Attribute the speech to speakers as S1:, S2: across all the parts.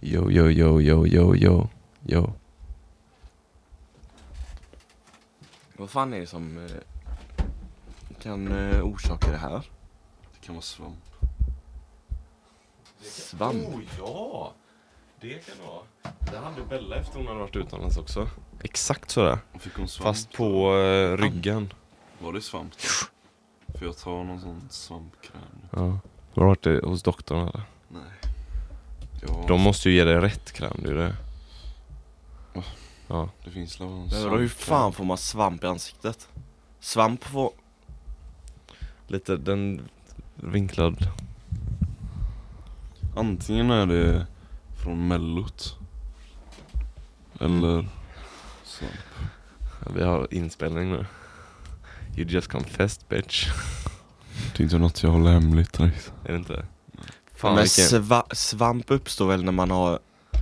S1: Yo, yo, yo, yo, yo, yo, yo.
S2: Vad fan är det som eh, kan eh, orsaka det här?
S3: Det kan vara svamp.
S2: Svamp.
S3: Oh ja! Det kan det vara. Det hade Bella efter hon hade varit utomlands också. Exakt sådär.
S4: Fick hon svamp?
S3: Fast på eh, ryggen.
S4: Var det svamp? För jag tar någon sån svampkräm.
S3: Ja. Har du varit eh, hos doktorn eller?
S4: Nej. Ja,
S3: De måste ju ge dig rätt kräm, det är ju det.
S4: Va?
S3: Ja.
S4: det finns väl någon
S2: Men vadå, hur fan får man svamp i ansiktet? Svamp får...
S3: Lite den vinklad.
S4: Antingen är det från mellot. Eller svamp.
S3: Vi har inspelning nu. You just confessed bitch.
S4: Det är inte något jag håller hemligt direkt.
S3: Är det inte? Fan
S2: Men
S3: vilken...
S2: sva svamp uppstår väl när man har...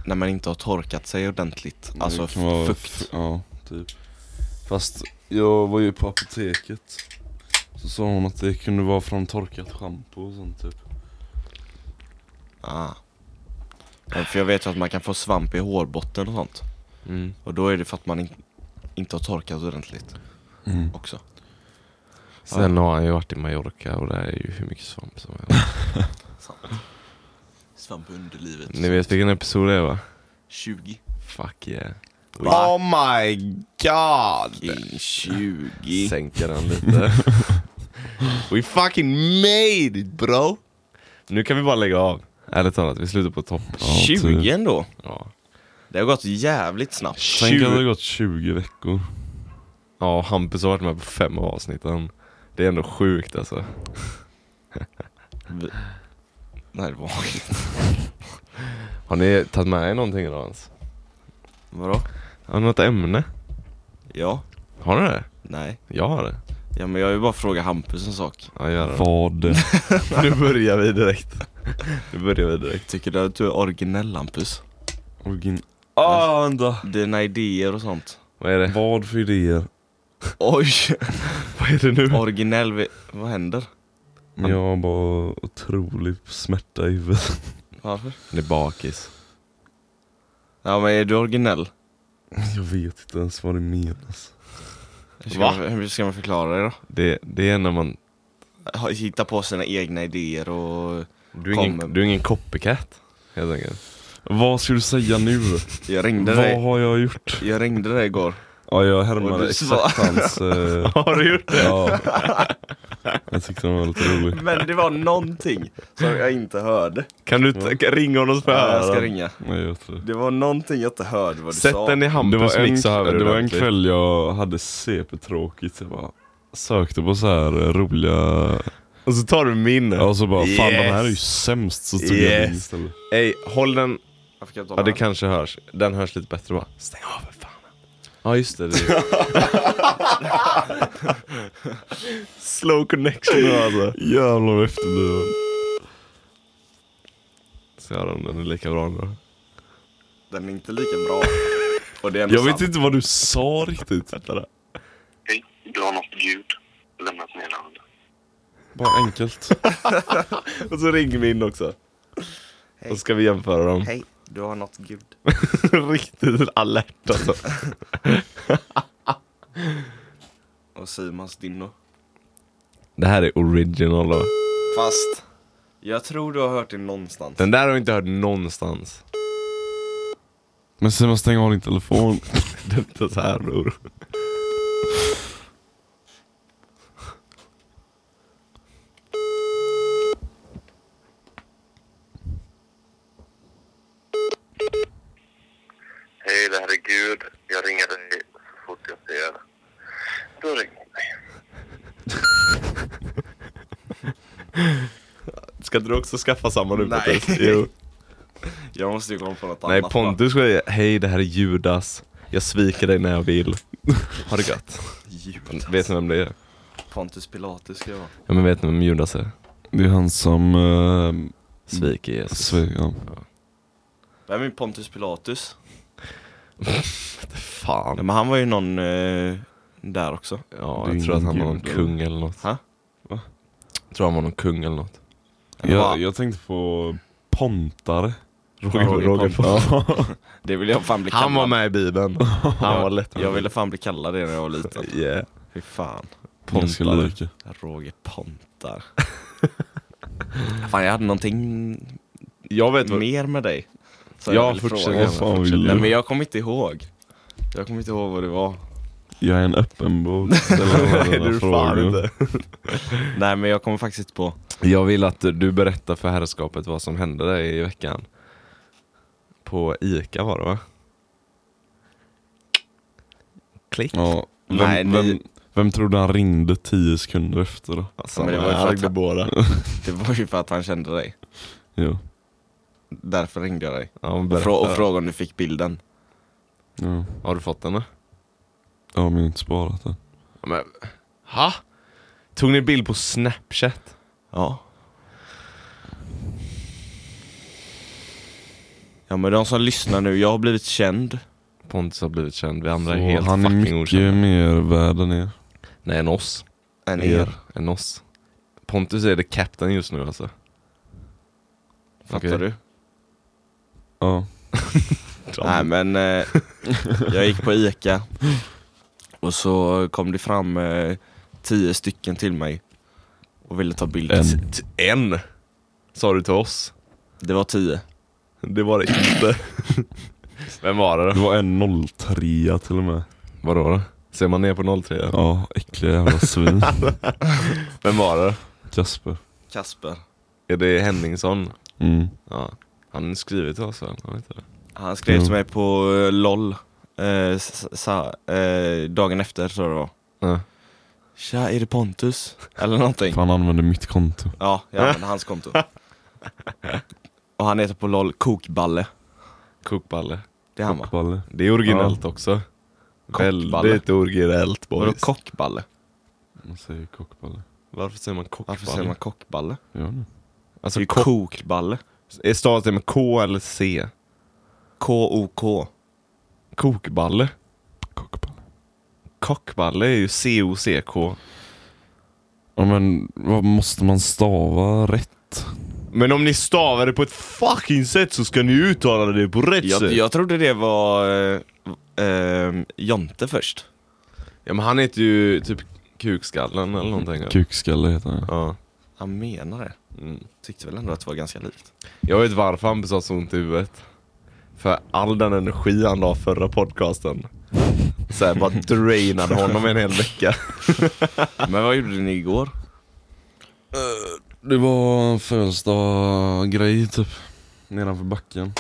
S2: När man inte har torkat sig ordentligt? Alltså
S4: Det kan vara
S2: fukt.
S4: f- Ja, typ. Fast jag var ju på apoteket. Så sa hon att det kunde vara från torkat schampo och sånt typ.
S2: Ah. Ja, För jag vet ju att man kan få svamp i hårbotten och sånt.
S3: Mm.
S2: Och då är det för att man in, inte har torkat ordentligt
S3: Mm.
S2: också.
S3: Sen har han ju varit i Mallorca och där är ju hur mycket svamp som helst.
S2: Sant. Svamp i underlivet.
S3: Ni vet vilken episod det är va?
S2: 20.
S3: Fuck yeah.
S4: Oh
S2: Va?
S3: my god!
S2: Fucking 20.
S3: Sänker den lite. We fucking made it bro! Nu kan vi bara lägga av. Ärligt talat, vi slutar på topp.
S2: 20 ändå.
S3: Ja.
S2: Det har gått jävligt snabbt.
S4: Tänk att det har
S3: 20...
S4: gått 20 veckor.
S3: Ja, Hampus har varit med på fem av avsnitten. Det är ändå sjukt alltså.
S2: Vi- Nej det var inget.
S3: Har ni tagit med er någonting idag ens?
S2: Vadå?
S3: Har ni något ämne?
S2: Ja?
S3: Har ni det?
S2: Nej?
S3: Jag har det.
S2: Ja men jag har ju bara frågat Hampus en sak.
S3: Ja, gör det.
S4: Vad?
S3: Nu börjar vi direkt. Nu börjar vi direkt.
S2: Tycker du att du är originell Hampus?
S4: Origin... Ah, vänta!
S2: Dina idéer och sånt.
S3: Vad är det?
S4: Vad för idéer?
S2: Oj!
S3: Vad är det nu?
S2: Originell, vi- vad händer?
S4: Jag har bara otrolig smärta i huvudet.
S2: Varför?
S3: Det är bakis.
S2: Ja men är du originell?
S4: Jag vet inte ens vad det menas.
S2: Hur ska,
S3: Va?
S2: man, hur ska man förklara det då?
S3: Det, det är när man...
S2: Ha- Hitta på sina egna idéer och
S3: Du är, ingen,
S2: Kommer.
S3: du är ingen copycat, helt enkelt.
S4: Vad ska du säga nu?
S2: Jag ringde
S4: vad
S2: dig,
S4: har jag gjort?
S2: jag ringde dig igår
S4: Ja, jag
S2: Och
S4: härmade
S2: du svarar.
S4: exakt hans... Eh,
S3: Har du gjort det?
S4: ja. Jag tyckte den var lite rolig.
S2: Men det var någonting som jag inte hörde
S3: Kan du t- ringa honom och
S2: Ja,
S3: spöa
S2: Jag ska
S3: honom?
S2: ringa
S4: Nej, jag vet inte.
S2: Det var någonting jag inte hörde vad du
S3: Sätt
S2: sa
S3: den i
S4: Det
S3: Hampus
S4: var, en,
S3: mick Alltså, så hör vi
S4: det var en
S3: ordentligt.
S4: kväll jag hade CP-tråkigt. Jag bara sökte på så här eh, roliga...
S3: Och så tar du min.
S4: Ja, och så bara fan de här är ju
S3: Yes.
S4: sämst. Så tog jag
S3: Yes.
S4: den istället.
S3: Ey, håll den.
S2: Varför kan jag inte
S3: Ja,
S2: hålla
S3: det
S2: den?
S3: kanske hörs. Den hörs lite bättre bara. Stäng av för fan. Ja, just det. det är... Slow connection alltså.
S4: Jävlar vad efterbliven.
S3: Så jag om den är lika bra nu.
S2: Den är inte lika bra och det är ändå
S4: Jag vet
S2: sant.
S4: inte vad du sa riktigt.
S5: Hej, du har något ljud lämnat meddelande.
S4: Bara enkelt.
S3: Och så ringer vi in också. Och så ska vi jämföra dem.
S2: Hej, du har något gud
S3: Riktigt alert alltså.
S2: Och Simons din då?
S3: Det här är original då.
S2: Fast Jag tror du har hört det någonstans
S3: Den där har vi inte hört någonstans.
S4: Men Simon stäng av din telefon.
S3: Det är inte så här bror.
S5: Hej, det här är Gud. Jag ringer dig så fort jag ser. Du har ringt mig.
S3: Ska inte du också skaffa samma nu
S2: Nej.
S3: Pontus? Jo.
S2: Jag måste ju komma på något
S3: Nej
S2: annat
S3: Pontus skulle säga hej det här är Judas. Jag sviker dig när jag vill. Ha det gött.
S2: Judas.
S3: Vet ni vem det är?
S2: alltså. Pontus Pilatus ska jag vara
S3: Ja men vet ni vem Judas är?
S4: Det är han som... Eh,
S3: Sviker Jesus.
S4: sve- ja.
S2: Vem är Pontus Pilatus? Nej
S3: Fan.
S2: men han var ju någon eh, där också
S3: Ja,
S4: Det är
S3: jag tror att
S4: ingen
S3: han var någon
S4: gud, eller?
S3: kung eller något.
S2: Ha?
S4: Va?
S3: Jag tror han var någon kung eller något.
S2: Eller vad?
S4: jag, jag tänkte på pontare.
S3: Roger,
S2: Roger
S3: Roger
S2: Pontare.
S3: Pontare.
S2: Det ville jag fan bli kallad.
S3: Han var med i Bibeln. Han var lätt.
S2: Jag ville fan bli kallad det när jag var liten.
S3: Yeah.
S2: Fy fan.
S4: Polska
S2: Pontare.
S4: lirker.
S2: Roger Pontar. fan jag hade någonting
S3: Jag vet vad...
S2: mer med dig. Så
S3: Ja,
S2: vill
S3: fortsätt.
S2: fråga
S3: Vad
S2: henne.
S4: fan vill
S2: Nej
S4: du?
S2: men jag kommer inte ihåg. Jag kommer inte ihåg vad det var.
S4: Jag är en öppen bok. Ställ alla
S3: Nej, det är
S4: dina
S3: du fan
S4: frågor.
S3: inte.
S2: Nej men jag kommer faktiskt inte på.
S3: Jag vill att du berättar för herrskapet vad som hände där i veckan. På Ica var det va? Klick.
S4: Ja. Vem,
S2: Nej, ni-
S4: vem, vem tror du han ringde tio sekunder efter då?
S3: Alltså,
S2: Ja, men det
S3: jag
S2: var ju för att-
S3: ringde båda.
S2: Det var ju för att han kände dig.
S4: Jo.
S2: Därför ringde jag dig.
S3: Ja, men
S2: Och,
S3: berätta.
S2: frå- och frågade om du fick bilden.
S4: Ja.
S3: Har du fått den då?
S4: Ja, men jag har inte sparat den.
S3: Ja, Men, ha? Tog ni bild på snapchat?
S2: Ja. Ja men de som lyssnar nu, jag har blivit känd.
S3: Pontus har blivit känd, vi andra är
S4: Så
S3: helt
S4: han är
S3: fucking
S4: mycket
S3: okända
S4: mer värd än er.
S3: Nej, en oss.
S2: Än er.
S3: En oss. Pontus är det captain just nu alltså
S2: Fattar
S3: Okej.
S2: du?
S4: Ja.
S2: Nej men eh, jag gick på Ica och så kom det fram eh, tio stycken till mig och ville ta bild.
S4: En.
S3: T- En! Sa du till oss?
S2: Det var tio.
S3: Det var det inte Vem var det
S4: Det
S3: då?
S4: var en 03 till och med.
S3: Vadå då? Ser man ner på 03?
S4: Ja, äckliga jävla svin.
S3: Vem var det då?
S4: Kasper.
S2: Kasper.
S3: Är det Henningsson?
S4: Mm.
S3: Ja Han skriver till oss väl? Jag vet inte.
S2: Han skrev till
S4: Mm.
S2: mig på eh, LOL eh, s- sa, eh, dagen efter tror jag det var.
S3: Ja.
S2: Tja, är det Pontus? Eller någonting.
S4: För han använde mitt konto.
S2: Ja, jag använde hans konto. Och han heter på LOL Kokballe.
S3: Kokballe
S2: Det är han va?
S4: Balle.
S3: Det är originellt också
S2: Kockballe.
S3: Väldigt originellt
S2: Vadå
S3: boys
S2: kockballe?
S4: Man säger kockballe.
S3: Varför säger man kockballe?
S2: Varför säger man kockballe?
S4: Ja, nu.
S2: Det
S3: Alltså
S2: är
S3: kock...
S2: kokballe.
S3: Är stavas det med K eller C?
S2: K-O-K.
S3: Kokballe?
S4: Kockballe.
S3: Kockballe är ju C-O-C-K.
S4: Ja men, vad måste man stava rätt?
S3: Men om ni stavar det på ett fucking sätt så ska ni uttala det på rätt
S2: Jag,
S3: sätt.
S2: jag trodde det var eh, eh, Jonte först.
S3: Ja men han heter ju typ Kukskallen eller någonting.
S4: Kukskalle heter han.
S3: Ja.
S2: Han menar det.
S3: Mm.
S2: Tyckte väl ändå att det var ganska likt.
S3: Jag vet varför han har så ont i huvudet. För all den energi han la förra podcasten. Såhär bara drainade honom en hel vecka.
S2: Men vad gjorde ni igår?
S4: Det var en födelsedagsgrej typ. Nedanför backen.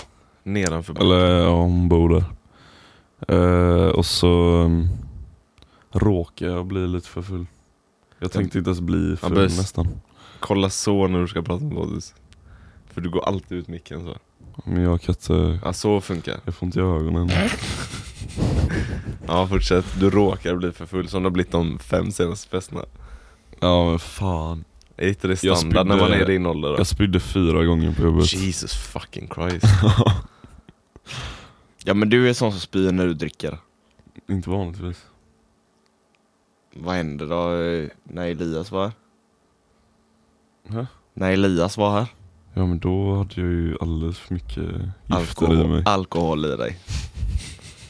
S3: Nedanför bara.
S4: Eller ja, hon bor där. Eh, och så um, råkade jag bli lite för full. Jag tänkte inte ens bli full
S3: började s-
S4: nästan.
S3: Kolla så när du ska prata med Bodis. För du går alltid ut micken så.
S4: Men jag kan inte,
S3: Ja så funkar.
S4: jag får inte i ögonen.
S3: Äh, Ja fortsätt. Du råkar bli för full som det har blivit de fem senaste festerna.
S4: Ja men fan.
S3: Är inte det
S4: Jag
S3: standard när
S4: spydde-
S3: man är i din ålder då?
S4: Jag spydde fyra gånger på jobbet.
S3: Jesus fucking Christ.
S2: Ja men du är sån som spyr när du dricker.
S4: Inte vanligtvis.
S2: Vad hände då eh, när Elias var här?
S4: Hä?
S2: När Elias var här?
S4: Ja men då hade jag ju alldeles för mycket gifter i
S2: Alkohol,
S4: mig.
S3: Äh,
S2: alkohol i dig.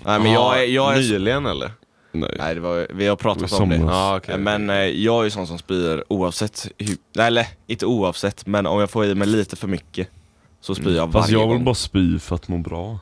S2: Nej men jag är... Jag är
S3: Nyligen eller?
S4: Nej.
S2: Nej, det var, vi har pratat
S4: Det
S2: om
S4: var i
S2: det.
S4: somras.
S3: Ja, okej.
S2: Men eh, jag är ju sån som spyr oavsett hur, nej, eller inte oavsett, men om jag får i mig lite för mycket så spyr jag varje
S4: Fast jag vill
S2: gång.
S4: bara spy för att må bra.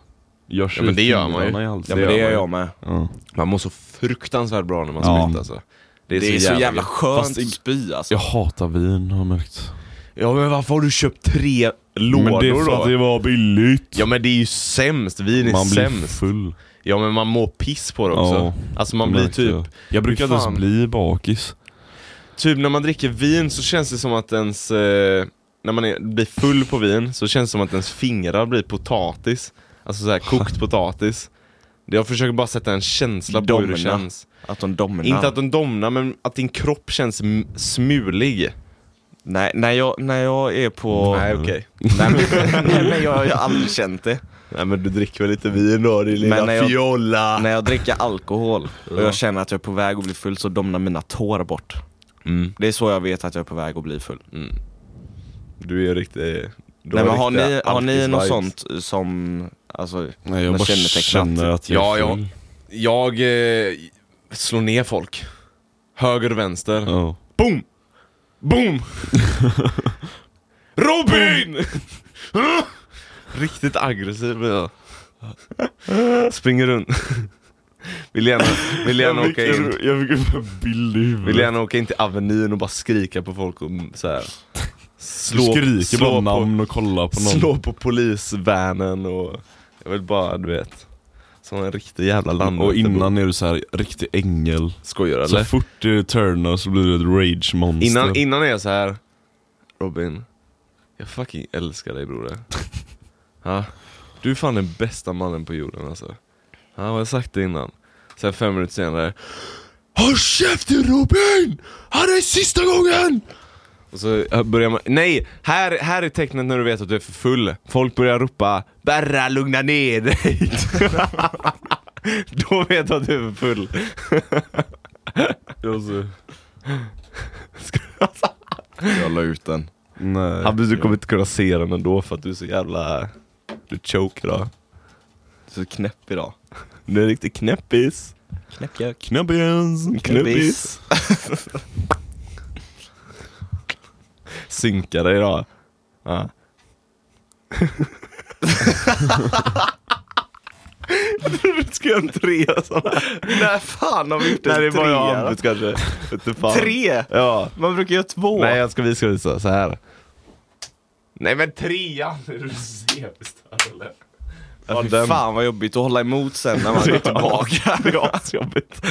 S4: Jag kör
S3: men det gör man ju.
S4: fingrarna i
S2: Ja
S4: halsen.
S2: men det
S3: gör
S2: gör
S3: man ju.
S2: jag med.
S4: Ja.
S3: Man mår så fruktansvärt bra när man
S4: Ja.
S3: spyr alltså.
S2: Det är, så jävla,
S3: gött.
S2: skönt
S4: Fast-
S2: att spy alltså.
S4: Jag hatar vin har jag märkt.
S3: Ja men varför har du köpt tre lådor
S4: men det är för
S3: då?
S4: att det var billigt.
S3: Ja men det är ju sämst, vin är
S4: man blir
S3: sämst.
S4: full.
S3: Ja men man mår piss på det också.
S4: Ja,
S3: alltså man
S4: det
S3: blir
S4: märkte
S3: typ,
S4: Jag, jag brukar inte
S3: fan.
S4: ens bli bakis.
S3: typ när man dricker vin så känns det som att ens, eh, när man är, blir full på vin så känns det som att ens fingrar blir potatis. Alltså såhär kokt potatis. Jag försöker bara sätta en känsla på hur det
S2: Domna.
S3: känns.
S2: Att de domnar.
S3: Inte att den domnar men att din kropp känns m- smulig.
S2: Nej, när jag, när jag är på...
S3: Nej okej.
S2: nej, men, nej men jag har ju aldrig känt det.
S3: Nej men du dricker väl lite vin då din
S2: Men när jag-
S3: fjolla.
S2: När jag dricker alkohol och jag känner att jag är på väg att bli full så domnar mina tår bort.
S3: Mm.
S2: Det är så jag vet att jag är på väg att bli full.
S3: Du är riktigt, De
S2: Nej,
S3: är
S2: men har
S3: riktiga
S2: ni, har ni något
S3: alkis-vibes.
S2: sånt som, alltså,
S4: Nej,
S2: Men
S4: jag bara
S2: kännetecknat.
S4: känner att jag
S3: Ja,
S4: är
S3: ja.
S4: full.
S3: Jag eh, slår ner folk. Höger och vänster.
S4: Ja.
S3: Boom! Boom! Robin! Riktigt aggressiv blir jag. Springer runt. Vill gärna, vill gärna åka in.
S4: jag fick en bild i huvudet.
S3: Vill gärna åka in till Avenyn och bara skrika på folk och så här.
S4: Du
S3: Slå,
S4: skriker bara
S3: slå, på,
S4: namn och kollar på någon.
S3: slå på polisvanen och jag vill bara, du vet. Som en riktig jävla land.
S4: Och innan är du så här riktig ängel.
S3: Skojar
S4: Så
S3: eller?
S4: fort du turnar så blir du ett rage monster.
S3: Innan, innan är jag så här Robin, jag fucking älskar dig broder. Ja, du är fan den bästa mannen på jorden alltså. Ja, jag har sagt det innan. Sen fem minuter senare, Håll käften Robin! Här är sista gången! Och så börjar man, nej! Här, här är tecknet när du vet att du är för full. Folk börjar ropa, Berra lugna ner dig! Då vet du att du är för full.
S2: jag la ut den.
S4: Nej.
S3: Habbis, du kommer inte kunna se den ändå för att du är så jävla... Du choke idag.
S2: Så knäpp idag.
S3: Du är en riktig knäppis.
S2: Knäppjök.
S4: Knabbens!
S2: Knäppis.
S3: Synka dig idag. Ja. jag trodde du skulle göra en trea sådana.
S2: När fan har vi gjort
S3: Det här är
S2: en
S3: bara jag och
S2: trea?
S3: Habbis kanske. Vete fan.
S2: Tre!
S3: Ja.
S2: Man brukar göra två.
S3: Nej, jag ska, vi ska visa så här. Nej men trean! Är du sebestörd eller?
S2: Ja, fy fan vad jobbigt att hålla emot sen när man går tillbaka.
S3: Det är asjobbigt.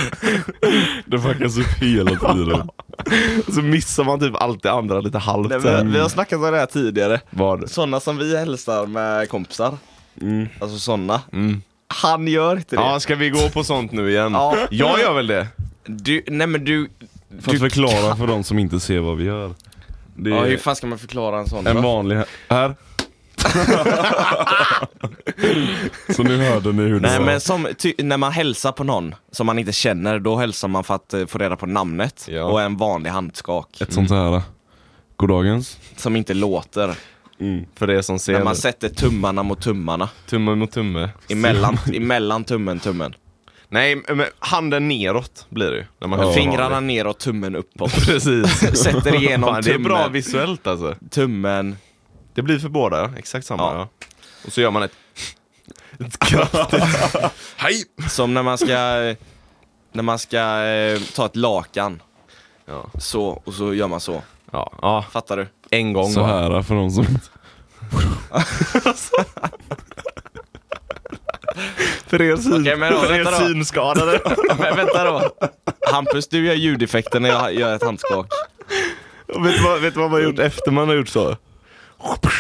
S4: Det fuckas upp hela tiden.
S3: Så missar man typ allt det andra lite halvt.
S2: Nej,
S3: så här.
S2: men, vi har snackat om det här tidigare.
S3: Vad?
S2: Sådana som vi hälsar med kompisar. Alltså sådana. Han gör inte det.
S3: Ja, ska vi gå på sånt nu igen?
S2: Ja.
S3: Jag gör väl det.
S2: Du, nej men du...
S4: För att
S2: du
S4: förklara för de som inte ser vad vi gör. Det
S2: Ja,
S4: är
S2: hur fan ska man förklara en sån
S4: en
S2: då?
S4: vanlig här. här. så nu hörde ni hur det
S2: Nej
S4: var.
S2: men som, ty, när man hälsar på någon som man inte känner, då hälsar man för att eh, få reda på namnet
S3: Ja.
S2: och en vanlig handskak
S4: Ett sånt här. Goddagens.
S2: som inte låter.
S3: Mm. För det som ser
S2: När man
S3: nu.
S2: sätter tummarna mot tummarna.
S3: Tumme mot tumme.
S2: Emellan, emellan tummen, tummen.
S3: Nej, men handen neråt blir det ju. när man
S4: Ja.
S3: hälsar
S2: Fingrarna
S3: vanligt.
S2: ner och tummen uppåt.
S3: Precis.
S2: Sätter igenom
S3: Fan, det är
S2: tummen.
S3: bra visuellt alltså.
S2: tummen.
S3: Det blir för båda, ja. exakt samma. Ja.
S2: Ja.
S3: Och så gör man ett... ett kraftigt... Hej!
S2: Som när man ska, när man ska eh, ta ett lakan.
S3: Ja.
S2: Så, och så gör man så.
S3: Ja, ja,
S2: Fattar du?
S3: en gång
S4: Så
S3: bara.
S4: här för de som inte...
S3: För er, syn...
S2: Okej, men då,
S3: för
S2: vänta
S3: er
S2: då.
S3: synskadade.
S2: Men vänta då. Hampus, du gör ljudeffekten när jag gör ett handskak.
S3: Och vet, du vad, vet du vad man har gjort efter man har gjort så?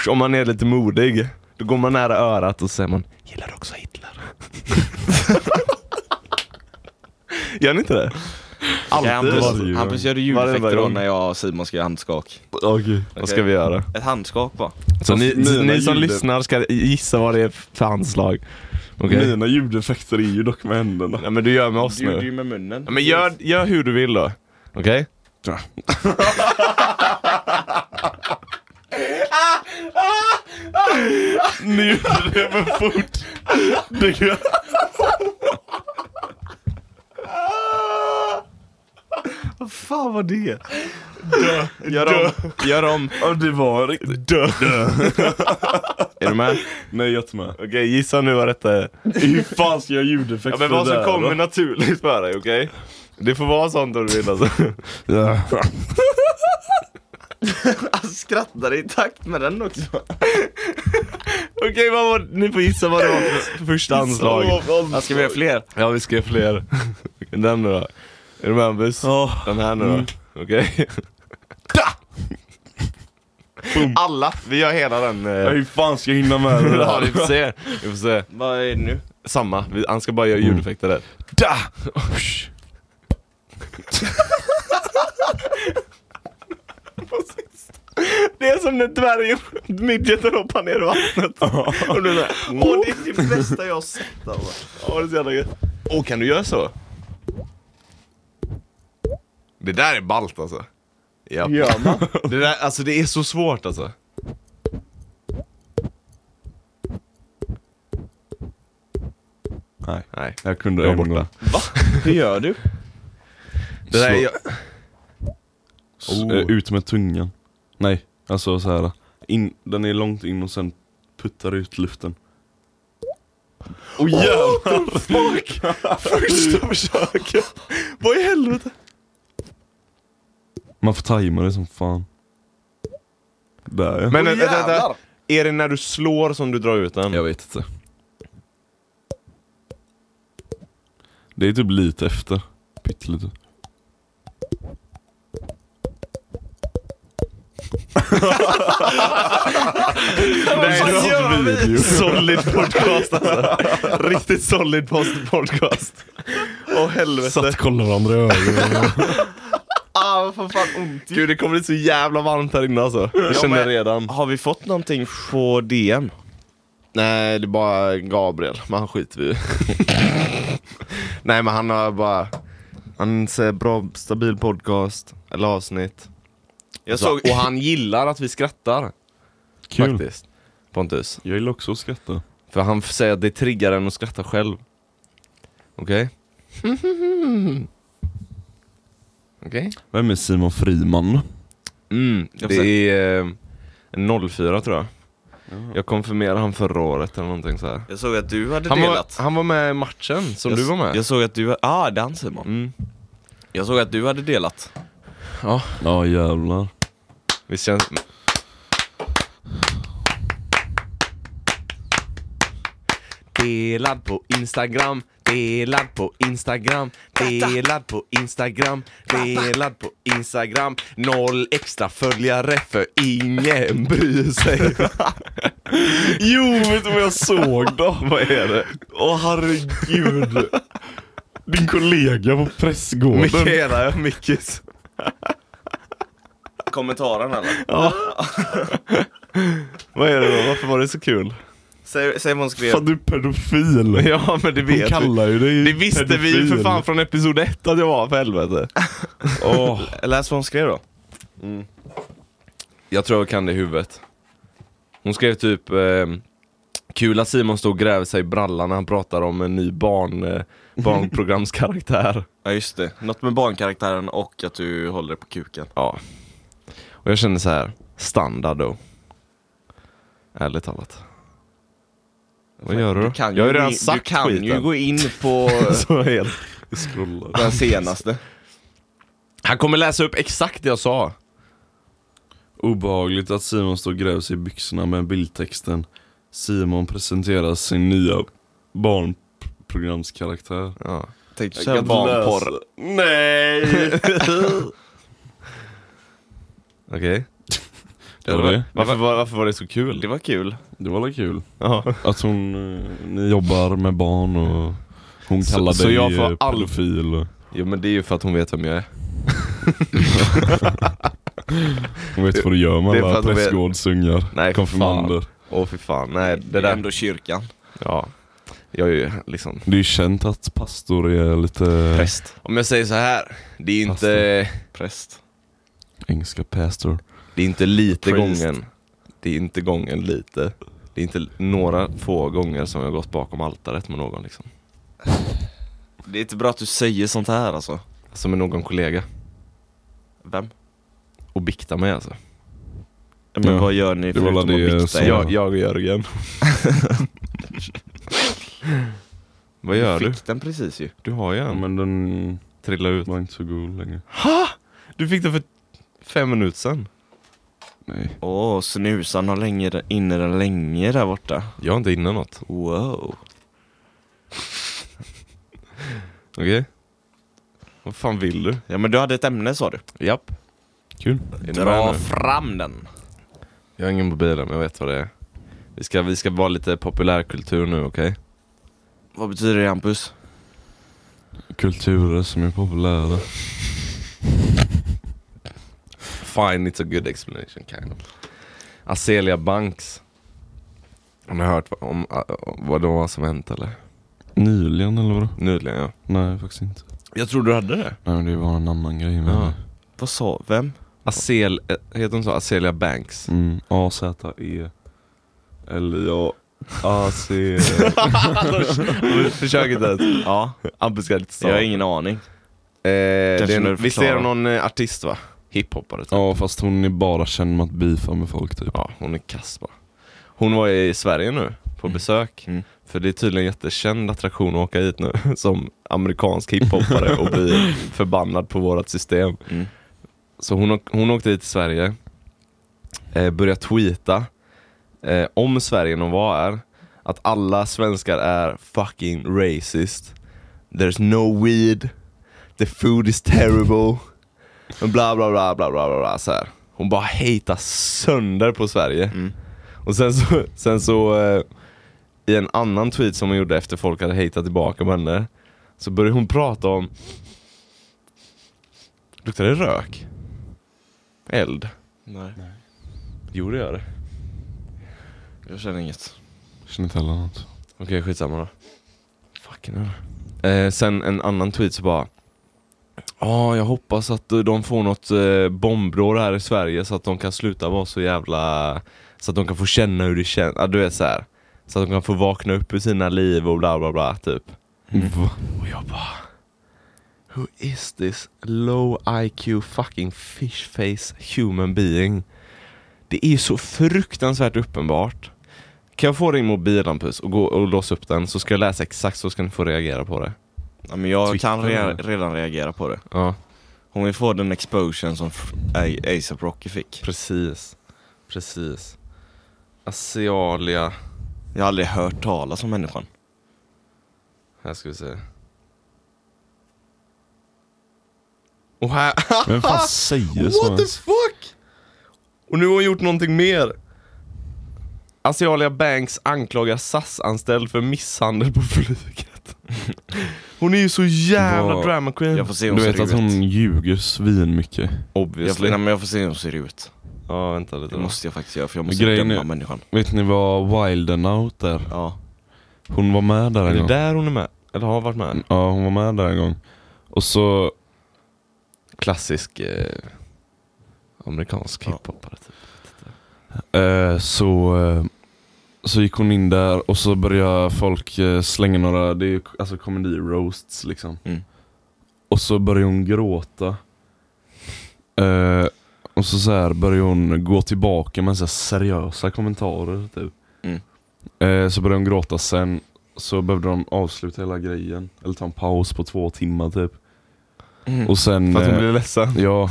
S3: Om man är lite modig, då går man nära örat och säger man Gillar du också Hitler? Gör ni inte det?
S2: Okej,
S3: Alltid.
S2: Hampus, Hampus, gör du ljudeffekter
S3: Varenda
S2: då
S3: gång.
S2: när jag och Simon ska göra handskak?
S4: Okej.
S3: Vad ska vi göra?
S2: Ett handskak bara.
S3: Så ni,
S4: mina
S3: ni som
S4: ljud-
S3: lyssnar ska gissa vad det är för handslag. Okej?
S4: Mina ljudeffekter är ju dock med händerna.
S3: Nej men du gör med oss
S2: Du gjorde
S3: nu.
S2: ju med munnen.
S3: Ja, men gör, gör hur du vill då. Okej?
S4: Ja.
S3: Nu gjorde det för fort. Det gör- Vad fan var det?
S2: Gör om. Gör om.
S4: Ja, det var riktigt... Dö.
S2: Är du med?
S4: Nej, jag är inte med.
S3: Okej, gissa nu vad detta är.
S4: Hur fan ska jag göra ljudeffekter
S3: Ja, men vad som
S4: där,
S3: kommer
S4: då?
S3: naturligt för dig, okej? Det får vara sånt om du vill alltså.
S4: Ja.
S2: Alltså skrattar i takt med den också.
S3: Okej, vad var, ni får gissa vad det var för första anslag.
S2: Alltså, ska vi göra fler?
S3: Ja, vi ska göra fler. Okej, Den nu då. Är du med Hampus?
S4: Ja.
S3: Den här nu då. Okej? Alla, vi gör hela den. eh,
S4: Hur fan ska jag hinna med det
S3: Ja, vi
S4: där?
S3: får se. Vi får se.
S2: Vad är det nu?
S3: Samma, vi, han ska bara göra ljudeffekter där.
S4: Da!
S3: Det är som när dvärgen, midgeten hoppar ner i vattnet. Och du är åh det är typ det bästa jag har sett alltså. Åh det är så jävla gött. Åh kan du göra så? Det där är ballt alltså. Ja.
S4: Gör man?
S3: Det där, alltså det är så svårt alltså.
S4: Nej,
S3: Nej.
S4: jag kunde
S3: Jag är
S4: ämna.
S3: borta.
S2: Va? Hur gör du?
S3: Det där,
S4: Slå-
S3: är- jag,
S4: S-
S3: Oh.
S4: eh, Ut med tungan. Nej, alltså så här. In, den är långt in och sen puttar ut luften.
S3: Åh jävlar! Fuck! Första försöket! Vad i helvete?
S4: Man får tajma det som fan. Där ja.
S3: Men
S2: Åh,
S3: vänta, vänta,
S2: jävlar!
S3: är det när du slår som du drar ut den?
S4: Jag vet inte. Det är typ lite efter. Pyttelite.
S3: Nej,
S2: Vad
S3: du
S2: gör
S3: har
S2: vi?
S3: video. Solid podcast alltså. Riktigt solid post- podcast. Åh helvete.
S6: Satt och kollade varandra i ögonen.
S2: Ah, vad fan, fan ont
S3: Gud det kommer bli så jävla varmt här inne alltså. Jag
S2: Ja,
S3: känner
S2: men-
S3: redan.
S2: Har vi fått någonting på DM?
S3: Nej, det är bara Gabriel. Men han skiter vi i. Nej, men han har bara... Han säger bra, stabil podcast. Eller avsnitt.
S2: Jag
S3: Så,
S2: såg...
S3: och han gillar att vi skrattar.
S4: Kul.
S3: Faktiskt. Pontus.
S4: Jag gillar också att skratta.
S3: För han säger att det triggar en att skratta själv. Okej? Okej?
S4: Vem är Simon Friman?
S3: Mm,
S2: Jag får
S3: det är eh, 04 tror jag. Jag konfirmerade han förra året eller någonting så här.
S2: Jag såg att du hade
S3: Han var,
S2: delat.
S3: han var med i matchen som
S2: jag,
S3: du var med.
S2: Jag såg att du... Ah, det är han Simon.
S3: Mm.
S2: Jag såg att du hade delat.
S4: Ja jävlar.
S3: Visst känns... Delad på Instagram, delad på Instagram, delad på Instagram, delad på Instagram. Noll extra följare för ingen bryr sig.
S4: Jo, vet du vad jag såg då?
S3: Vad är det?
S4: Åh herregud. Din kollega på pressgården.
S3: Mikaela, ja, Mickis.
S2: Kommentaren eller?
S3: Vad är det då? Varför var det så kul?
S2: Säg, säg vad hon skrev.
S4: Fan du är pedofil.
S3: Ja, men det
S4: Hon
S3: vet vi.
S4: kallar ju dig
S3: Det visste vi ju för fan från episod ett att jag var, för helvete.
S4: Åh,
S2: Läs vad hon skrev då.
S3: Jag tror jag kan det i huvudet. Hon skrev typ eh, Kul att Simon stod och gräver sig i brallan när han pratar om en ny barn, eh, barnprogramskaraktär.
S2: Ja just det, något med barnkaraktären och att du håller på kuken.
S3: Ja. Och jag känner så här, standard då. Ärligt talat. Vad gör du då?
S2: Du kan
S3: jag har
S2: ju,
S3: ju
S2: gå
S3: redan
S2: in-
S3: sagt
S2: du kan
S3: skiten.
S2: ju gå in på
S3: Så helt.
S4: jag scrollar.
S2: den senaste.
S3: Han kommer läsa upp exakt det jag sa.
S4: Obehagligt att Simon står och gräver sig i byxorna med bildtexten Simon presenterar sin nya barnprogramskaraktär.
S3: Ja.
S2: Tänkte säga barnporr.
S4: Nej!
S3: Okej.
S4: Det var det.
S3: Varför, var, varför var det så kul?
S2: Det var kul.
S4: Det var väl kul?
S3: Ja.
S4: Att hon, eh, ni jobbar med barn och hon
S3: Så-
S4: kallar
S3: så
S4: dig
S3: jag får
S4: eh,
S3: all-
S4: pedofil. och-
S3: Jo men det är ju för att hon vet vem jag är.
S4: Hon vet vad du gör med
S3: Det är för
S4: alla
S3: att hon vet-
S4: prästgårdsungar.
S3: Nej,
S4: Konfirmander.
S3: Åh fy fan, nej
S2: Det
S3: det
S2: är
S3: där.
S2: ändå kyrkan.
S3: Ja. Jag är ju liksom...
S4: Det är ju känt att pastor är lite
S2: Präst.
S3: Om jag säger så här, det är inte,
S2: Präst.
S4: engelska pastor.
S3: det är inte lite
S2: Priest.
S3: gången. Det är inte gången lite. Det är inte några få gånger som jag gått bakom altaret med någon liksom.
S2: Det är inte bra att du säger sånt här alltså.
S3: Alltså med någon kollega.
S2: Vem?
S3: Och bikta mig alltså.
S2: Ja, Men
S4: Ja.
S2: vad gör ni
S4: Det var
S2: förutom att
S4: väl det
S2: bikta
S4: som-
S2: er?
S3: Jag, jag och Jörgen. Vad gör du?
S2: Fick den precis ju.
S3: Du har ju
S4: Ja,
S3: en.
S4: men den
S3: Trilla ut.
S4: var inte så god längre.
S3: Du fick den för fem minuter sedan.
S4: Nej.
S2: Åh, snusan har länge där- inne den länge där borta.
S3: Jag har inte innan något.
S2: Wow.
S3: Okej? Vad fan vill du?
S2: Ja men du hade ett ämne sa du.
S3: Japp.
S4: Kul.
S3: Är ni med
S2: Dra
S3: nu?
S2: fram den.
S3: Jag har ingen mobil men jag vet vad det är. Vi ska, vi ska vara lite populärkultur nu, okej?
S2: Vad betyder det Hampus?
S4: Kulturer som är populära.
S3: Fine, it's a good explanation kind of. Azelia Banks. Har ni hört vad- om, om vad det var som hänt eller?
S4: Nyligen eller vadå?
S3: Nyligen ja.
S4: Nej faktiskt inte.
S3: Jag tror du hade det.
S4: Nej men det var en annan grej med
S3: Ja.
S4: ja.
S2: Vad sa, vem?
S3: Azel, eh, heter hon så? Azelia Banks?
S4: mm, A-Z-E L-I-A AC...
S3: Försök inte ens.
S2: Ja,
S3: Hampus ska lite så.
S2: jag har
S3: eh,
S2: ingen aning.
S3: det är
S2: när du
S3: en, Visst är
S2: förklarar.
S3: det någon eh, artist va? Hiphoppare typ.
S4: Ja fast hon är bara känd med att beefa med folk typ.
S3: Ja, hon är kass bara. Hon var i Sverige nu på besök.
S2: Mm.
S3: För det är tydligen en jättekänd attraktion att åka hit nu som amerikansk hiphoppare och bli förbannad på vårt system.
S2: Mm.
S3: Så hon, åk- hon åkte hit till Sverige, eh, började tweeta eh, om Sverige när hon var här, att alla svenskar är fucking racist. There's no weed, the food is terrible, men bla bla bla bla bla bla, bla så här. Hon bara hatar sönder på Sverige.
S2: Mm.
S3: Och sen så, sen så eh, i en annan tweet som hon gjorde efter folk hade hatat tillbaka på henne, så började hon prata om Luktar det rök? Eld?
S2: Nej,
S3: Jo det gör det.
S2: jag känner inget.
S4: Känner inte heller något.
S3: Okej skitsamma då. Fucking hell. Eh, sen en annan tweet så bara Ja, jag hoppas att eh, de får något eh, bombråd här i Sverige så att de kan sluta vara så jävla... Så att de kan få känna hur det känns. Ja, du vet så här. Så att de kan få vakna upp ur sina liv och bla bla bla typ.
S4: Va?
S3: Och jag bara... Who is this low IQ fucking fish face human being? Det är ju så fruktansvärt uppenbart. Kan jag få din mobil Hampus och, gå och låsa upp den så ska jag läsa exakt så ska ni få reagera på det.
S2: Ja, men jag kan
S3: Twitter,
S2: rea-
S3: eller?
S2: redan reagera på det.
S3: Ja,
S2: Hon vill få den explosion som F- A- ASAP Rocky fick.
S3: precis. Precis. Asialia.
S2: Jag har aldrig hört talas om människan.
S3: Här ska vi se. Och här...
S4: Vem fan säger så?
S3: What the
S4: ens?
S3: fuck? Och nu har hon gjort någonting mer. Asialia Banks anklagar SAS-anställd för misshandel på flyget. Hon är ju så jävla
S4: Vad-
S3: drama queen.
S2: Jag får se hur
S4: Du
S2: hon
S4: vet
S2: ser
S4: att
S2: ut.
S4: hon ljuger svinmycket.
S2: Jag får,
S3: Obviously.
S2: nej, men jag får se hur hon ser ut.
S3: Ja, vänta lite.
S2: Det
S3: då.
S2: måste jag faktiskt göra för jag måste
S4: Grejen
S2: döma
S4: är-
S2: människan.
S4: Vet ni vad Wild and Out är?
S2: Ja.
S4: Hon var med där
S3: Är
S4: en
S3: det
S4: gång.
S3: där hon är med? Eller har hon varit med?
S4: Ja hon var med där en gång. Och så
S3: Klassisk eh, amerikansk hiphopare typ.
S4: Eh, så, eh, så gick hon in där och så började folk eh, slänga några, det är ju k- alltså komedi-roasts liksom.
S2: Mm.
S4: Och så började hon gråta. Eh, och så, så här började hon gå tillbaka med så här seriösa kommentarer typ.
S2: Mm.
S4: Eh, så började hon gråta sen, så behövde de avsluta hela grejen. Eller ta en paus på två timmar typ.
S2: Mm.
S4: Och sen...
S3: För att hon
S4: eh,
S3: blir ledsen.
S4: Ja.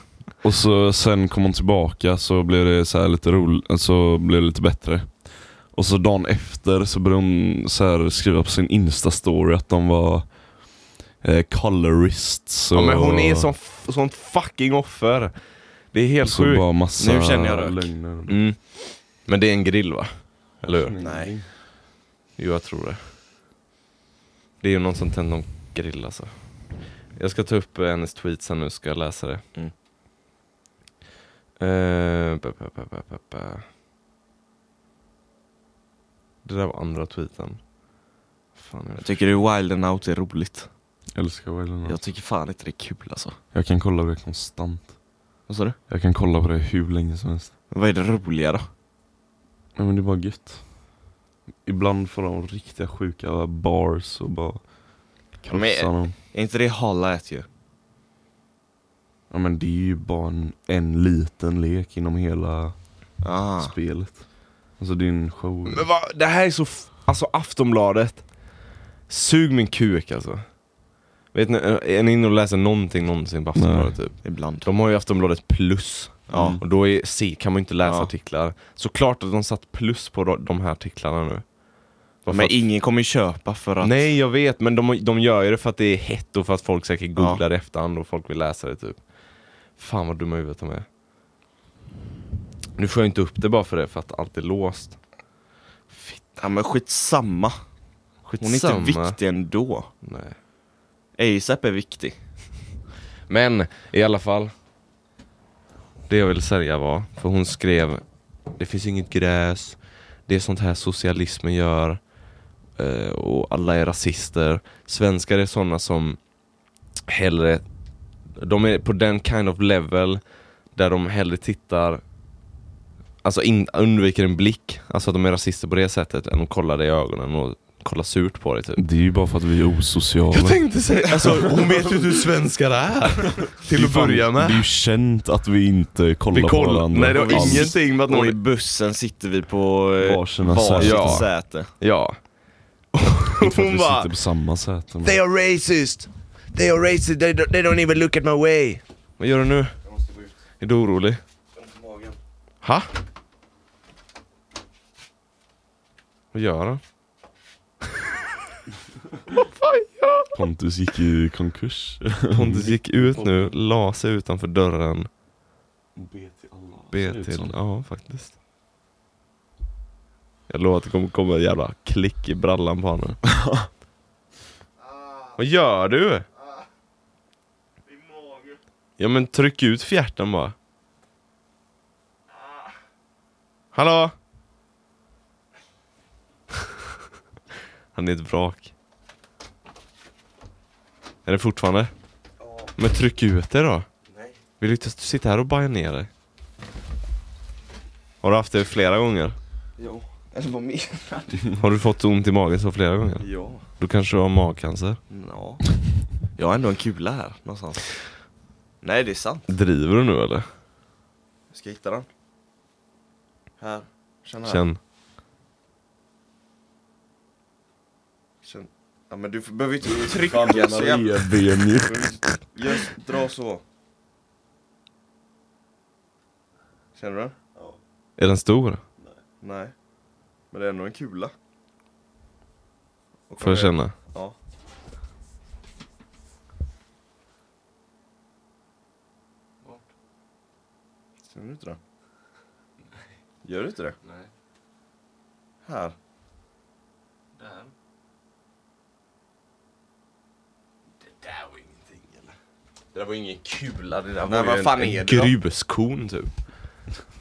S4: Och så sen kom hon tillbaka så blev det så här lite roligt, så blev det lite bättre. Och så dagen efter så började hon så här skriva på sin instastory att de var eh, colorists och...
S3: Ja, men hon är som f- sånt fucking offer. Det är helt
S4: så
S3: sjukt.
S4: bara massa
S2: Nu känner jag rök.
S4: lögner.
S3: Mm. Men det är en grill va? Eller hur?
S2: Nej.
S3: Jo, jag tror det. Det är ju någon som tänder någon grill alltså. Jag ska ta upp eh, hennes tweet sen nu, ska jag läsa det.
S2: Mm.
S3: Eh, ba, ba, ba, ba, ba, ba. Det där var andra tweeten. Fan, jag...
S2: Jag tycker det Wild and Out är roligt.
S4: Älskar Wayland. Jag,
S2: Jag tycker fan inte det är kul alltså.
S4: jag kan kolla på det konstant.
S2: Vad sa du?
S4: Jag kan kolla på det hur länge som helst.
S2: Vad är det roliga då?
S4: Nej men det är bara gött. Ibland får de riktiga sjuka bars och bara
S2: Men
S4: krossar dem.
S2: Är inte det Halla Ät ju?
S4: Ja men det är ju bara en, en liten lek inom hela
S2: Ah.
S4: spelet. Alltså det är en show.
S3: Men va? Det här är så... F- alltså Aftonbladet. Sug min kuk alltså. Vet ni, eh, är ni inne och läser någonting någonsin på Aftonbladet typ?
S2: Ibland.
S3: De har ju Aftonbladet plus.
S2: Ja.
S3: Och då är, se, kan man ju inte läsa
S2: Ja.
S3: artiklar. Såklart att de satt plus på de- de här artiklarna nu. Varför
S2: Men
S3: att-
S2: ingen kommer ju köpa för att...
S3: Nej, jag vet, men de, de gör ju det för att det är hett och för att folk säkert googlar det i efterhand och folk vill läsa det typ. Fan vad dumma i huvudet de är. Nu får jag inte upp det bara för det, för att allt är låst.
S2: Ja, men skitsamma. Hon är
S3: Skitsamma.
S2: inte viktig ändå.
S3: Nej.
S2: ASAP är viktig.
S3: Men i alla fall. Det jag vill säga var, för hon skrev Det finns inget gräs Det är sånt här socialismen gör eh, Och alla är rasister Svenskar är såna som hellre De är på den kind of level där de hellre tittar alltså in, undviker en blick, alltså att de är rasister på det sättet, än att kolla dig i ögonen och kolla surt på dig typ.
S4: Det är ju bara för att vi är osociala.
S3: Jag tänkte säga, alltså hon vet ju inte hur svenskar är. Till att börja
S4: Det är ju
S3: med.
S4: känt att vi inte kollar
S3: Vi
S4: på
S3: kollar,
S4: varandra.
S3: nej det har
S4: Alls.
S3: ingenting med att
S2: Och i
S3: någon...
S2: bussen sitter vi på eh,
S4: Varsina
S2: varsitt
S4: säten.
S3: Ja.
S2: säte.
S3: Ja.
S4: Inte för att
S3: Hon
S4: vi
S3: bara-
S4: sitter på samma säten.
S3: are racist! They are racist, they don't, they don't even look at my way. Vad gör du nu?
S2: Jag måste gå ut.
S3: Är du orolig?
S2: Jag har ont i magen.
S3: Ha? Vad gör han?
S4: Pontus gick i konkurs.
S3: Pontus gick ut nu, la sig utanför dörren. Be
S4: ut
S3: till,
S4: som.
S3: ja faktiskt. Jag lovar att det kommer komma en jävla klick i brallan på honom. Vad gör du? Ja men tryck ut fjärten bara. Hallå? Han är ett vrak. Är det fortfarande? Men tryck ut det då. Vill du inte sitta här och baja ner dig? Har du haft det flera gånger?
S2: Jo. Eller vad mer?
S3: Har du fått ont i magen så flera gånger?
S2: Ja.
S3: Då kanske du har magcancer?
S2: Ja. Jag har ändå en kula här någonstans. Nej det är sant.
S3: Driver du nu eller?
S2: Jag ska hitta den. Här. Känn här.
S3: Känn.
S2: Känn. Ja men du får- behöver inte trycka så jävla...
S4: Benjuk.
S2: Just, dra så. Känner du den?
S3: Är den stor?
S2: Nej. Men det är ändå en kula. Och
S3: Får jag
S2: kolla-
S3: känna?
S2: Ja. Vart? Känner du inte det? Gör du inte det? Nej. Här. Där. Det där var ingenting eller? Det där var ingen kula, det där Nej, var vad fan en, är det då?
S3: Gruskorn typ.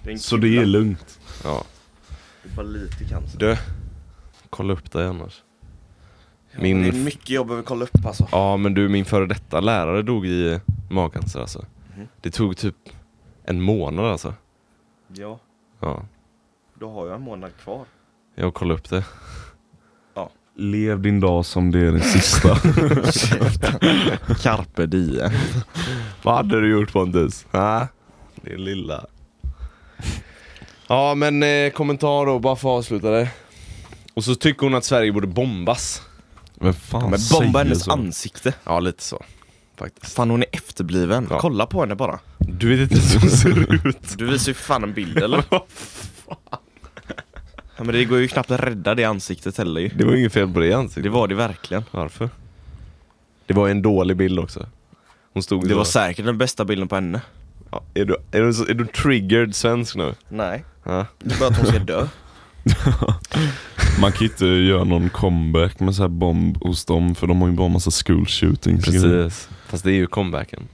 S2: Det är en
S4: Så det är
S2: kula.
S4: lugnt.
S3: Ja.
S2: Det är bara lite cancer.
S3: Du. Kolla upp dig annars.
S2: Det är
S3: Min...
S2: mycket jag behöver kolla upp alltså.
S3: Ja men du, min före detta lärare dog i magcancer alltså.
S2: Mhm.
S3: Det tog typ en månad alltså.
S2: Ja,
S3: Ja.
S2: då har jag en månad kvar.
S3: Jag kollar upp det.
S4: Lev din dag som det är den sista.
S2: Carpe diem.
S3: Vad hade du gjort Pontus? Ha? Det är lilla. Ja men eh, kommentar då, bara för att avsluta det. Och så tycker hon att Sverige borde bombas.
S4: Vem fan
S2: Men bomba
S4: säger
S2: hennes
S4: så?
S2: ansikte.
S3: Ja lite så. Faktiskt.
S2: Fan hon är efterbliven.
S3: Ja.
S2: Kolla på henne bara.
S3: Du vet inte ens hur hon ser ut.
S2: Du visar ju för fan en bild eller? ja, men det går ju knappt att rädda det ansiktet heller ju.
S3: Det var inget fel på det
S2: Det
S3: ansiktet.
S2: var det verkligen.
S3: Varför? Det var en dålig bild också. Hon stod
S2: Det var
S3: så.
S2: säkert den bästa bilden på henne.
S3: Ja, är, du, är, du, så- är du triggered svensk nu?
S2: Nej.
S3: Ja.
S2: Det är bara att hon ska dö.
S4: Man kan ju inte göra någon comeback med så här bomb hos dem för de har ju bara massa school shootings.
S3: Precis. Fast det är ju comebacken.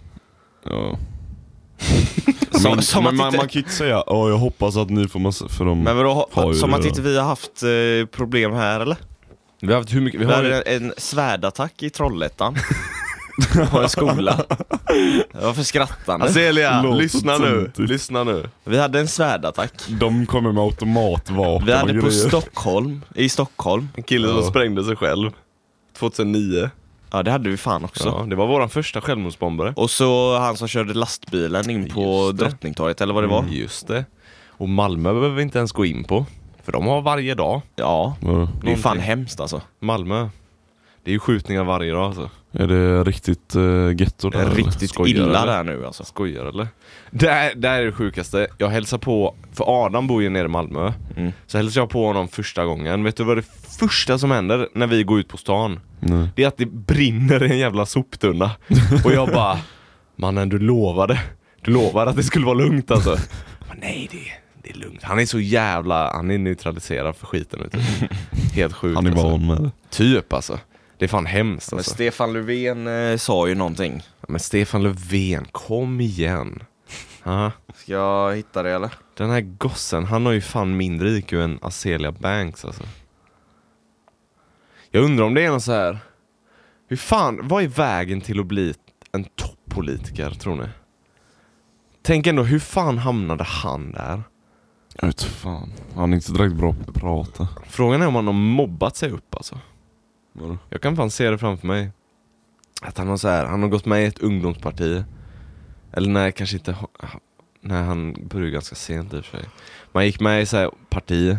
S4: Ja.
S2: Som-
S4: men
S2: som
S4: men
S2: att
S4: man,
S2: inte-
S4: man kan ju inte säga "Ja, jag hoppas att ni får massa, för de...
S2: Men vadå,
S4: Har
S2: ha,
S4: ju
S2: som
S4: det
S2: att
S4: då.
S2: inte vi har haft eh, problem här eller?
S3: Vi har haft hur mycket? Vi
S2: Vi
S3: har ju-
S2: hade en, en svärdattack i Trollhättan. på en skola. Varför skrattar ni?
S3: Celia,
S4: Låter
S3: lyssna nu.
S4: töntigt.
S3: Lyssna nu.
S2: Vi hade en svärdattack.
S4: De kommer med automatvapen
S2: Vi hade
S4: och
S2: på
S4: grejer.
S2: Stockholm, i Stockholm.
S3: En kille som sprängde sig själv. 2009.
S2: Ja det hade vi fan också.
S3: Ja, det var våran första självmordsbombare.
S2: Och så han som körde lastbilen in på
S3: Just det. Mm.
S2: Drottningtorget eller vad det var.
S3: Just det. Och Malmö behöver vi inte ens gå in på. För de har varje dag.
S2: Ja,
S4: Ja.
S2: det är ju fan hemskt alltså.
S3: Malmö. Det är ju skjutningar varje dag alltså.
S4: Är det riktigt uh, getto
S2: Det
S4: där?
S2: är
S4: eller?
S2: riktigt
S3: skojar
S2: illa
S3: eller?
S2: där nu alltså.
S3: Skojar eller? Det här, det här är det sjukaste. Jag hälsar på, för Adam bor ju nere i Malmö.
S2: Mm.
S3: Så hälsar jag på honom första gången. Vet du vad det första som händer när vi går ut på stan?
S4: Nej.
S3: Det är att det brinner i en jävla soptunna. Och jag bara, mannen du lovade. Du lovade att det skulle vara lugnt alltså. Men nej, det, det är lugnt. Han är så jävla, han är neutraliserad för skiten. Vet du. Helt sjukt
S4: Han är
S3: alltså.
S4: van med det.
S3: Typ alltså. Det är fan hemskt
S2: Men
S3: alltså.
S2: Stefan Löfven eh, sa ju någonting.
S3: Men Stefan Löfven, kom igen. Ja.
S2: Ska jag hitta det eller?
S3: Den här gossen, han har ju fan mindre IQ än Azelia Banks alltså. Jag undrar om det är någon så här. Hur fan, vad är vägen till att bli en toppolitiker tror ni? Tänk ändå, hur fan hamnade han där?
S4: Jag vet fan. Han är inte direkt bra på att prata.
S3: Frågan är om han har mobbat sig upp alltså.
S4: Vadå?
S3: Jag kan fan se det framför mig. Att han har så här, han har gått med i ett ungdomsparti. Eller nej, kanske inte. ha- ha- Nej, han började ganska sent i och för sig. Man gick med i så här parti.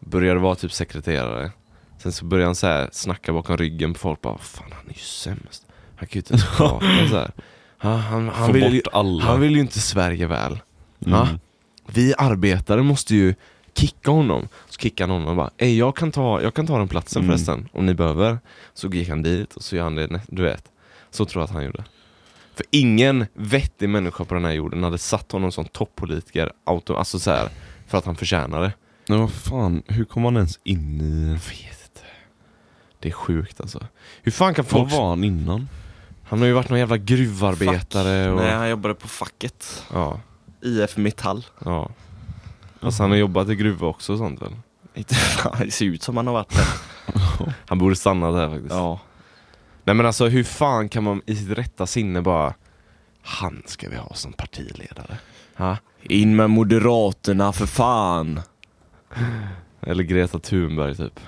S3: Började vara typ sekreterare. Sen så började han så här snacka bakom ryggen på folk. Bara, fan han är ju sämst. Han kan ju inte ens prata så här. Han, han, han,
S4: Få
S3: vill ju,
S4: bort alla.
S3: han vill ju inte Sverige väl.
S4: Mm.
S3: Ja. Vi arbetare måste ju kicka honom. Så kickade han honom och bara, Ey, jag, kan ta, jag kan ta den platsen
S4: Mm.
S3: förresten om ni behöver. Så gick han dit och så gör han det, nä- du vet. Så tror jag att han gjorde. För ingen vettig människa på den här jorden hade satt honom som toppolitiker auto, alltså så här, för att han förtjänade det.
S4: Men vad fan, hur kom han ens in i...
S3: Jag vet inte. Det är sjukt alltså. Hur fan kan folk...
S4: Vad var han innan?
S3: Han har ju varit någon jävla gruvarbetare och...
S2: Nej, han jobbade på facket.
S3: Ja,
S2: IF Metall.
S3: ja. Alltså han har jobbat i gruva också och sånt väl?
S2: Inte fan, det ser ut som han har varit där.
S3: Han borde stanna där faktiskt.
S2: Ja.
S3: Nej men alltså hur fan kan man i sitt rätta sinne bara Han ska vi ha som partiledare. Ha?
S2: In med Moderaterna för fan!
S3: Eller Greta Thunberg typ.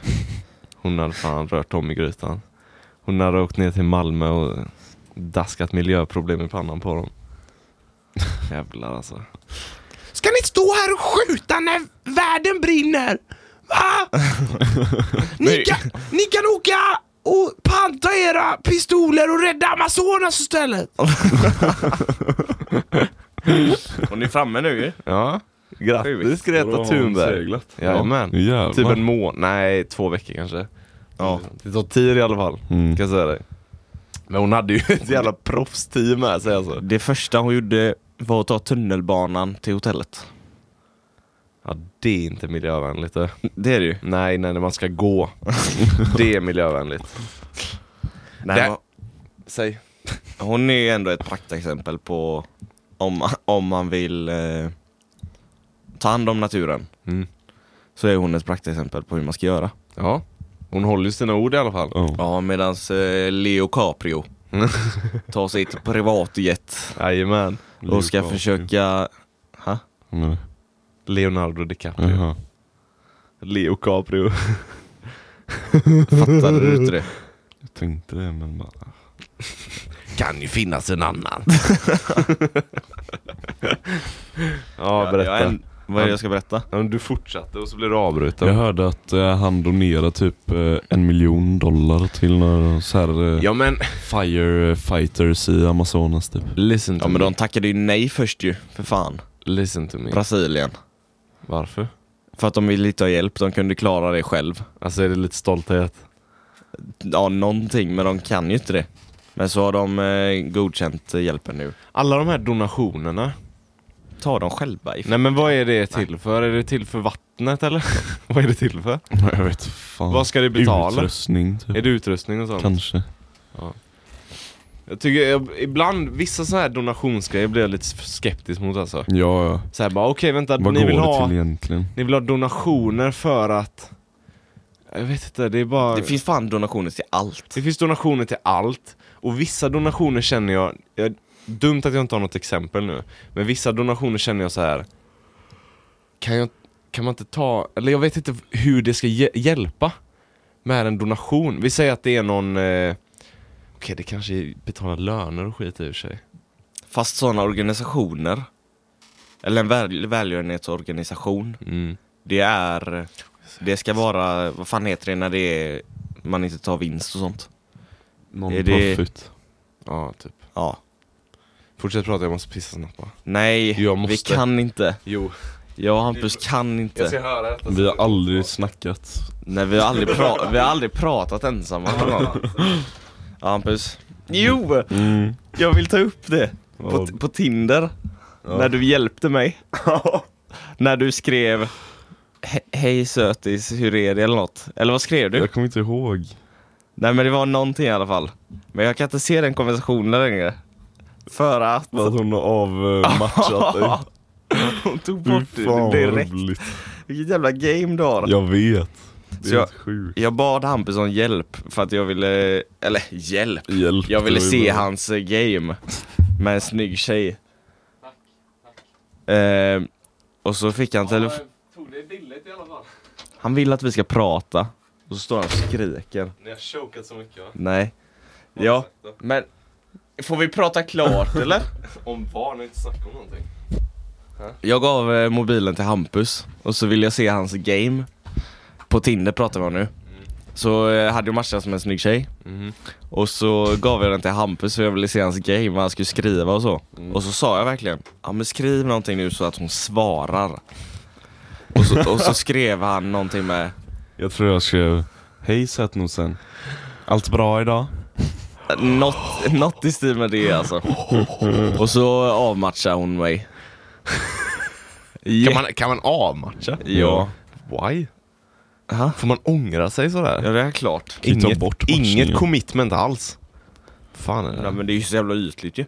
S3: Hon hade fan rört om i grytan. Hon hade åkt ner till Malmö och daskat miljöproblem i pannan på dem. Jävlar alltså. Ska ni stå här och skjuta när världen brinner? Va? ni, kan, ni kan åka och panta era pistoler och rädda Amazonas istället.
S2: Hon är framme nu ju.
S3: Ja, grattis
S4: Då
S3: Greta
S4: har han
S3: Thunberg.
S4: seglat.
S3: Jajamän.
S4: Jävlar.
S3: Typ en månad, nej två veckor kanske.
S2: Ja.
S3: Det tar tid i alla fall,
S4: Mm.
S3: kan jag säga dig. Men hon hade ju ett jävla proffsteam med sig alltså.
S2: Det första hon gjorde var att ta tunnelbanan till hotellet.
S3: Ja, det är inte miljövänligt det.
S2: Det är det ju.
S3: Nej, nej, när man ska gå. det är miljövänligt.
S2: Nej,
S3: Där-
S2: men
S3: Säg.
S2: Hon är ju ändå ett praktexempel på om, man- om man vill eh, ta hand om naturen.
S3: Mm.
S2: Så är hon ett praktexempel på hur man ska göra.
S3: Ja, hon håller ju sina ord i alla fall.
S4: Ja.
S2: Ja, medans eh, Leo Caprio tar sitt privatjet
S3: Jajamän.
S2: och ska försöka... Ha?
S4: Men-
S3: Leonardo DiCaprio.
S4: Jaha.
S3: Leo Caprio.
S2: Fattade du inte det?
S4: Jag tänkte det men bara...
S3: Kan ju finnas en annan.
S2: Jag-
S3: ja, berätta.
S2: Jag, är en- vad är det jag ska berätta?
S3: Ja, men Du fortsatte och så blev du avbruten.
S4: Jag hörde att eh, han donerade typ eh, en miljon dollar till några så här, eh,
S3: Ja men,
S4: firefighters i Amazonas typ.
S3: listen to
S2: Ja men de
S3: me.
S2: tackade ju nej först ju, för fan.
S3: Listen to me.
S2: Brasilien.
S3: Varför?
S2: För att de ville inte ha hjälp, de kunde klara det själv.
S3: Alltså är det lite stolthet?
S2: Ja, någonting, men de kan ju inte det. Men så har de eh, godkänt eh, hjälpen nu.
S3: Alla de här donationerna,
S2: Ta dem själva i
S3: nej men vad är det till för? Är det till för vattnet eller? vad är det till för?
S4: Jag vet fan.
S3: Vad ska det betala?
S4: Utrustning typ.
S3: Är det utrustning och sånt?
S4: Kanske.
S3: Jag tycker jag, ibland, vissa så här donationsgrejer blir jag lite skeptisk mot alltså.
S4: Ja, ja.
S3: Så här bara, okej vänta,
S4: Vad
S3: ni
S4: går
S3: vill,
S4: det
S3: ha,
S4: till egentligen?
S3: ni vill ha donationer för att... Jag vet inte, det är bara...
S2: Det finns fan donationer till allt.
S3: Det finns donationer till allt och vissa donationer känner jag, jag dumt att jag inte har något exempel nu, men vissa donationer känner jag så här. Kan, jag, kan man inte ta, eller jag vet inte hur det ska hje- hjälpa med en donation. Vi säger att det är någon, eh, okej det kanske betalar löner och skit i och för sig.
S2: Fast sådana organisationer, eller en väl, välgörenhetsorganisation,
S3: Mm.
S2: det är... Det ska vara, vad fan heter det när det är, man inte tar vinst och sånt?
S4: Någon
S2: Är det-
S4: profit.
S3: Ja, typ.
S2: Ja.
S3: Fortsätt prata, jag måste pissa snabbt bara.
S2: Nej,
S3: Jag måste.
S2: vi kan inte.
S3: Jo,
S2: Jag och Hampus kan inte.
S3: höra detta.
S4: Vi har aldrig snackat.
S2: Nej, vi har aldrig, pra- vi har aldrig pratat ensamma. Ja, Hampus. Jo!
S4: Mm.
S2: Jag vill ta upp det. På, på Tinder. När du hjälpte mig. när du skrev "He- Hej sötis, hur är det? Eller något. Eller vad skrev du?
S4: Jag kommer inte ihåg.
S2: Nej men det var någonting i alla fall. Men jag kan inte se den konversationen längre. För att
S4: Att hon har avmatchat dig.
S2: hon tog
S4: Fy
S2: bort
S4: fan
S2: det
S4: vad
S2: direkt.
S4: roligt.
S2: Vilket jävla game du har.
S4: Jag vet. Det
S2: Så
S4: är
S2: jag-
S4: helt sjukt.
S2: Jag bad Hampus om hjälp för att jag ville, eller hjälp.
S4: Hjälp,
S2: Jag ville
S4: det var ju
S2: se
S4: bra.
S2: hans eh, game med en snygg tjej. Eh, Och så fick han telefon.
S3: tog det billigt i alla fall.
S2: Han vill att vi ska prata. Och så står han och skriker.
S3: Ni har chokat så mycket va?
S2: Nej. Ja,
S3: sagt då?
S2: men får vi prata klart eller?
S3: Om vad? Ni har inte snackat om någonting.
S2: Jag gav eh, mobilen till Hampus och så ville jag se hans game. På Tinder pratar vi om nu. Så eh, hade jag matchats med en snygg tjej.
S3: Mhm.
S2: Och så gav jag den till Hampus för jag ville se hans game, vad han skulle skriva och så.
S3: Mm.
S2: Och så sa jag verkligen, ja men skriv någonting nu så att hon svarar. Och så, och så skrev han någonting med,
S4: Jag tror jag skrev Hej sötnosen. Allt bra idag?
S2: något, något i stil med det alltså. Och så avmatchade hon mig.
S3: Kan, man, kan man avmatcha?
S2: Ja.
S3: Why?
S2: Aha.
S3: Får man ångra sig sådär?
S2: Ja det är klart.
S4: Vi tar
S3: Inget,
S4: bort matchningen.
S3: inget commitment alls. Fan är det?
S2: Ja, men det är ju så jävla ytligt ju.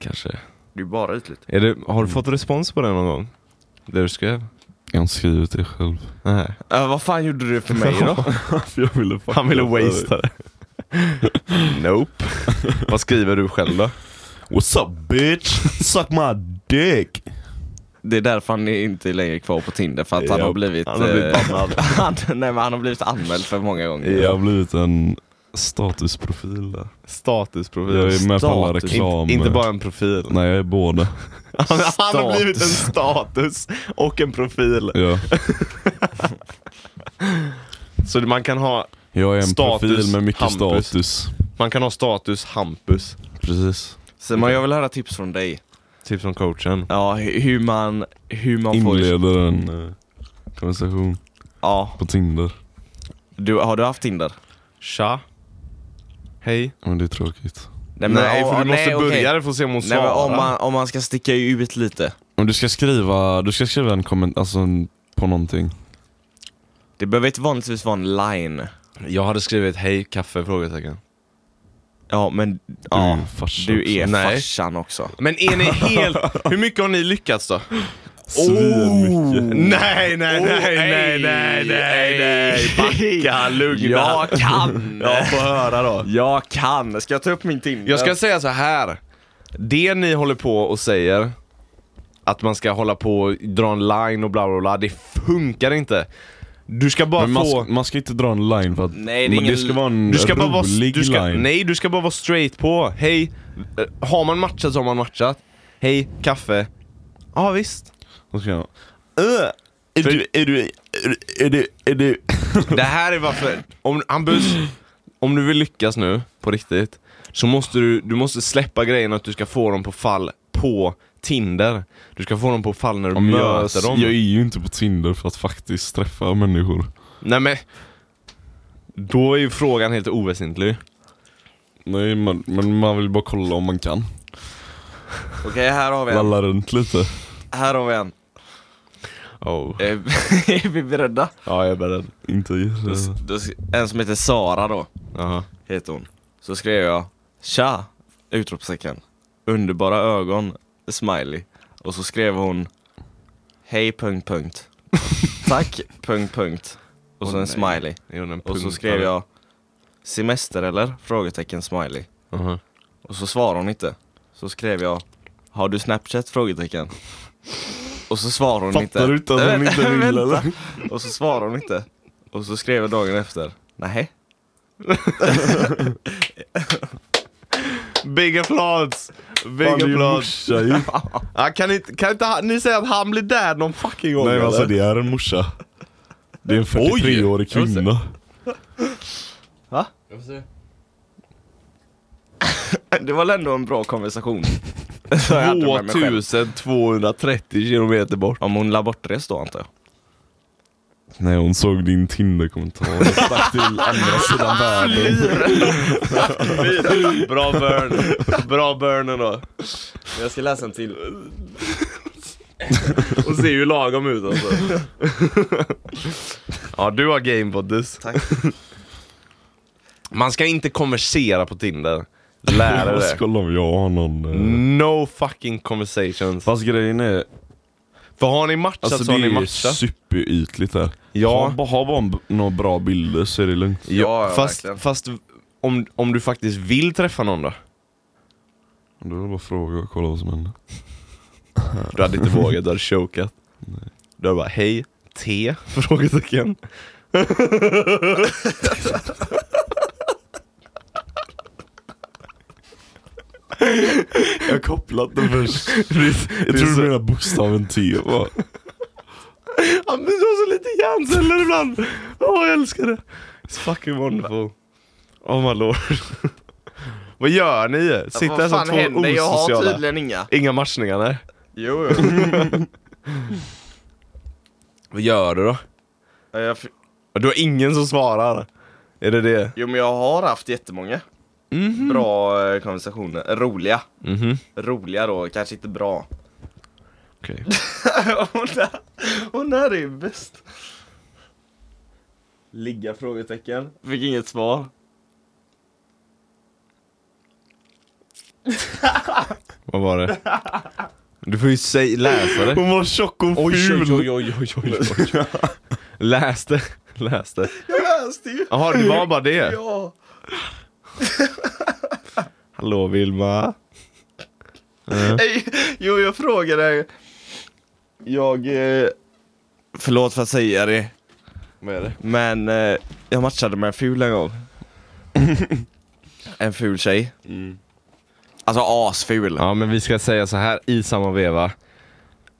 S3: Kanske.
S2: Det är ju bara ytligt.
S3: Är det, har du fått respons på det någon gång? Det du skrev?
S4: Jag har inte skrivit det själv.
S3: Nej.
S2: Äh, vad fan gjorde du för mig då?
S4: jag ville
S3: Han ville wastea det. nope. Vad skriver du själv då?
S4: What's up bitch? Suck my dick!
S2: det är därför han är inte längre kvar på Tinder, för att han
S4: Ja,
S2: har blivit...
S3: han har blivit
S2: eh, han, nej men han har blivit anmäld för många gånger.
S4: Jag har blivit en statusprofil där.
S3: Statusprofil.
S4: Jag är med på alla
S2: Status.
S4: reklam.
S3: Inte, inte bara en profil.
S4: Nej, jag är båda.
S3: Han, han har
S2: Status.
S3: blivit en status och en profil.
S4: Ja.
S3: Så man kan ha,
S4: Jag är en
S3: Status,
S4: profil med mycket
S3: Hampus.
S4: status.
S3: man kan ha status Hampus.
S4: Precis.
S2: Simon, jag vill höra tips från dig.
S3: Typ som coachen.
S2: Ja, hu- hur man... Hur man får...
S4: Inleder
S3: liksom-
S4: en eh, konversation
S2: Ja,
S4: på Tinder.
S2: du, har du haft Tinder?
S3: Tja. Hej.
S4: Men det är tråkigt.
S2: Nej,
S3: Nej,
S2: ja,
S3: för du måste
S2: nej, okej.
S3: börja där för att se om hon
S2: Nej, men
S3: svarar.
S2: om, man, om man ska sticka ut lite.
S4: Om du ska skriva, du ska skriva en kommentar, alltså en- på någonting.
S2: Det behöver inte vanligtvis vara en line.
S3: Jag hade skrivit hej, kaffe? Frågetecken.
S2: Ja, men...
S4: Du
S2: ja,
S4: är ju farsa
S2: du är
S3: också. Nej.
S2: farsan också.
S3: Men är ni helt... Hur mycket har ni lyckats då? Oh!
S4: Svinmycket.
S3: Nej, nej, nej, nej, nej, nej, nej. Backa, lugna.
S2: Jag kan!
S3: Ja, få höra då.
S2: Jag kan! Ska jag ta upp min Tinder?
S3: Jag ska säga så här. Det ni håller på och säger, att man ska hålla på och dra en line och bla bla bla, det funkar inte. Du ska bara
S4: Men man,
S3: få...
S4: ska, man ska inte dra en line för att
S2: Nej, det är
S4: men
S2: ingen-
S4: det ska vara en
S3: Du ska bara vara,
S4: rolig
S3: du ska,
S4: line.
S3: nej, du ska bara vara straight på. Hej, eh, har man matchat så har man matchat. Hej, kaffe. Ja, visst.
S4: Då ska jag-
S3: Är du, är du, är du, är du. Det här är varför, om, Hampus, om du vill lyckas nu, på riktigt, så måste du, du måste släppa grejen att du ska få dem på fall på Tinder. Du ska få dem på fall när du
S4: Om jag,
S3: möter dem.
S4: jag är ju inte på Tinder för att faktiskt träffa människor.
S3: Nej men, då är ju frågan helt oväsentlig.
S4: Nej, man, men man vill bara kolla om man kan.
S2: Okej, här har vi en.
S4: Lalla runt lite.
S2: Här har vi en.
S3: Oh.
S2: Eh, är vi beredda?
S3: Ja, jag är beredd.
S4: Inte gissa.
S2: Då sk- En som heter Sara då,
S3: Jaha.
S2: heter hon. Så skrev jag Tja! Utropstecken. Underbara ögon, smiley. Och så skrev hon Hej punkt punkt. Tack punkt punkt. Och så
S3: Åh,
S2: en
S3: nej.
S2: smiley.
S3: Jag gjorde en
S2: Och så
S3: punkt
S2: skrev
S3: där.
S2: jag Semester eller? Frågetecken smiley. Uh-huh.
S3: Jaha.
S2: Och så svarade hon inte. Så skrev jag Har du snapchat? Frågetecken. Och så svarade hon inte.
S4: Fattar du inte att hon
S2: Vänta,
S4: inte vill
S2: vänta.
S4: eller?
S2: Och så svarade hon inte. Och så skrev jag dagen efter. Nej.
S3: Big applause! Big
S4: Fan, det är ju
S3: applause!
S4: morsa ju.
S3: Ja, kan, inte, kan inte han- ni säga att han blir där någon fucking gång
S4: Nej men alltså
S3: eller?
S4: det är en morsa. Det är en 43-årig
S3: Jag vill se.
S4: kvinna.
S2: Det var väl ändå en bra konversation. Så jag hade med mig själv.
S3: 2230 kilometer bort.
S2: Om hon la bortres då antar jag.
S4: Nej hon såg din Tinder-kommentar och stack till andra sidan världen.
S3: Bra burn. Bra burn ändå.
S2: Jag ska läsa en till.
S3: Och ser ju lagom ut alltså. ja, du har game buddies.
S2: Tack.
S3: Man ska inte konversera på Tinder. Lär dig
S4: Jag
S3: det.
S4: måste
S3: Mm.
S4: kolla om jag har någon... eh,
S3: No fucking conversations.
S4: Fast grejen är,
S3: För har ni matchat
S4: alltså
S3: så
S4: det
S3: har ni
S4: är ju
S3: matchat.
S4: superytligt där.
S3: Ja.
S4: Ha, bara- ha bara en b- några bra bilder så är det lugnt.
S2: Ja, ja,
S3: fast
S2: verkligen.
S3: fast om, om du faktiskt vill träffa någon då?
S4: Då är det bara att fråga och kolla vad som händer.
S3: Du hade inte vågat, du hade chokat. Då är det bara hej, T? Frågetecken.
S4: Jag har kopplat den först. Jag tror du menar bokstaven T. va?
S3: Ja, men du har så lite hjärnceller ibland. Åh, jag älskar det. It's fucking wonderful. Oh my lord. vad gör ni? Sitter här
S2: Alltså, vad
S3: som
S2: fan
S3: två
S2: händer? Jag har
S3: osociala.
S2: tydligen inga.
S3: Inga matchningar, nej.
S2: Jo, jo.
S3: Vad gör du då?
S2: Ja, jag f-
S3: Du har ingen som svarar. Är det det?
S2: jo, men jag har haft jättemånga
S3: Mm-hmm.
S2: bra eh, konversationer. Roliga.
S3: Mhm.
S2: Roliga då, kanske inte bra.
S3: Okej.
S2: hon, där, hon där är ju bäst. Ligga? frågetecken. Fick inget svar.
S3: Vad var det? Du får ju säg, läsa det.
S4: Hon var tjock och ful.
S3: oj, oj, oj, oj. Läs det. Läs det.
S2: Jag läste ju!
S3: Jaha, det var bara det.
S2: Ja!
S3: Hallå Vilma.
S2: Nej, jo, jag frågade... Jag... Eh, förlåt för att säga det,
S3: Vad är det?
S2: men eh, jag matchade med en ful en gång. en ful tjej. Alltså asful.
S3: Ja, men vi ska säga så här i samma veva.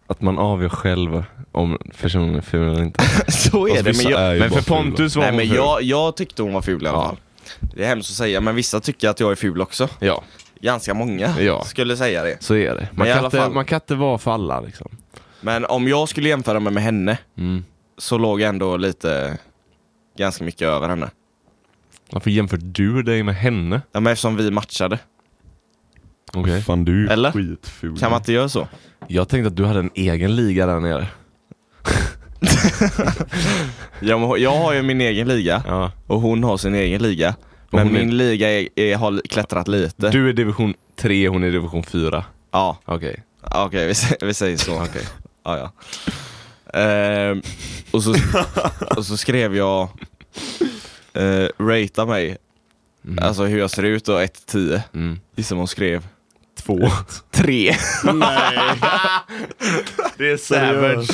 S3: Att man avgör själv om personen är ful eller inte.
S2: Så Alltså, är det, men, jag,
S3: Men för Pontus var
S2: nej, men
S3: hon ful.
S2: jag, jag tyckte hon var ful i alla fall. Det är hemskt att säga, men vissa tycker att jag är ful också.
S3: Ja,
S2: Ganska många
S3: Ja.
S2: skulle säga det.
S3: så är det. Man,
S2: i
S3: kan
S2: alla
S3: inte,
S2: fall-
S3: man kan inte vara för alla liksom.
S2: Men om jag skulle jämföra mig med henne
S3: Mm.
S2: så låg jag ändå lite, ganska mycket över henne.
S3: Varför jämför du dig med henne?
S2: Ja, men eftersom vi matchade.
S3: Okej.
S4: Fan du är ju
S2: Eller?
S4: skitful.
S2: Kan man inte göra så?
S3: Jag tänkte att du hade en egen liga där nere.
S2: Jag, må- jag har ju min egen liga
S3: Ja.
S2: och hon har sin egen liga.
S3: Och
S2: Men
S3: hon är-
S2: min liga är, är, har klättrat lite.
S3: Du är division 3, hon är division 4.
S2: Ja,
S3: Okej.
S2: okej vi, sä- vi säger så. okay. ja, ja. Ehm, och, så, och så skrev jag eh, Ratea mig, alltså hur jag ser ut då, 1-10.
S3: Mm.
S2: Gissa vad hon skrev?
S3: Två.
S2: 3.
S3: Det är savage.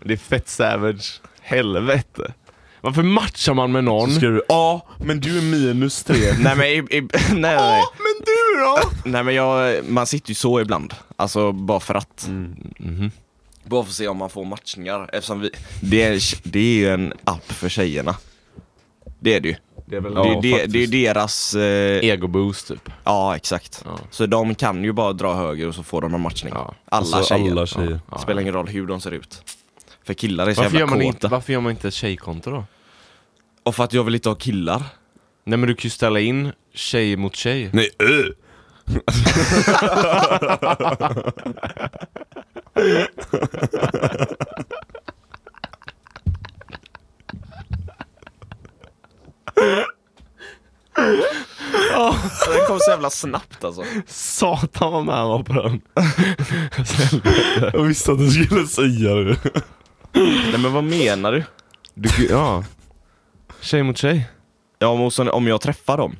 S3: Det är fett savage. Helvete. Varför matchar man med någon?
S4: Så skriver du ja, men du är minus tre.
S2: nej men, i, i, nej, nej, nej.
S3: Men du då?
S2: nej men jag, man sitter ju så ibland. Alltså bara för att.
S4: Mhm.
S2: Bara för att se om man får matchningar. Eftersom vi, det, är, det är ju en app för tjejerna. Det är det ju.
S3: Det är väl
S2: det, är det, det är ju deras... Eh,
S3: egoboost typ.
S2: ja exakt.
S3: Ja.
S2: Så de kan ju bara dra höger och så får de en matchning.
S3: Ja.
S2: Alla
S4: Alltså,
S2: tjejer.
S4: alla tjejer.
S3: Ja.
S2: Spelar ingen roll hur de ser ut. För killar är så
S3: Varför gör,
S2: jävla
S3: man inte,
S2: kåta.
S3: varför gör man inte ett tjejkonto då?
S2: Och för att jag vill inte ha killar.
S3: Nej men du kan ju ställa in tjej mot tjej.
S4: Nej, ö.
S2: Den kom så jävla snabbt alltså.
S3: Satan vad med han var på den.
S4: Jag visste att du skulle säga det.
S2: Nej men vad menar du?
S3: Du, ja. Tjej mot tjej.
S2: Ja, om- om- om jag träffar dem.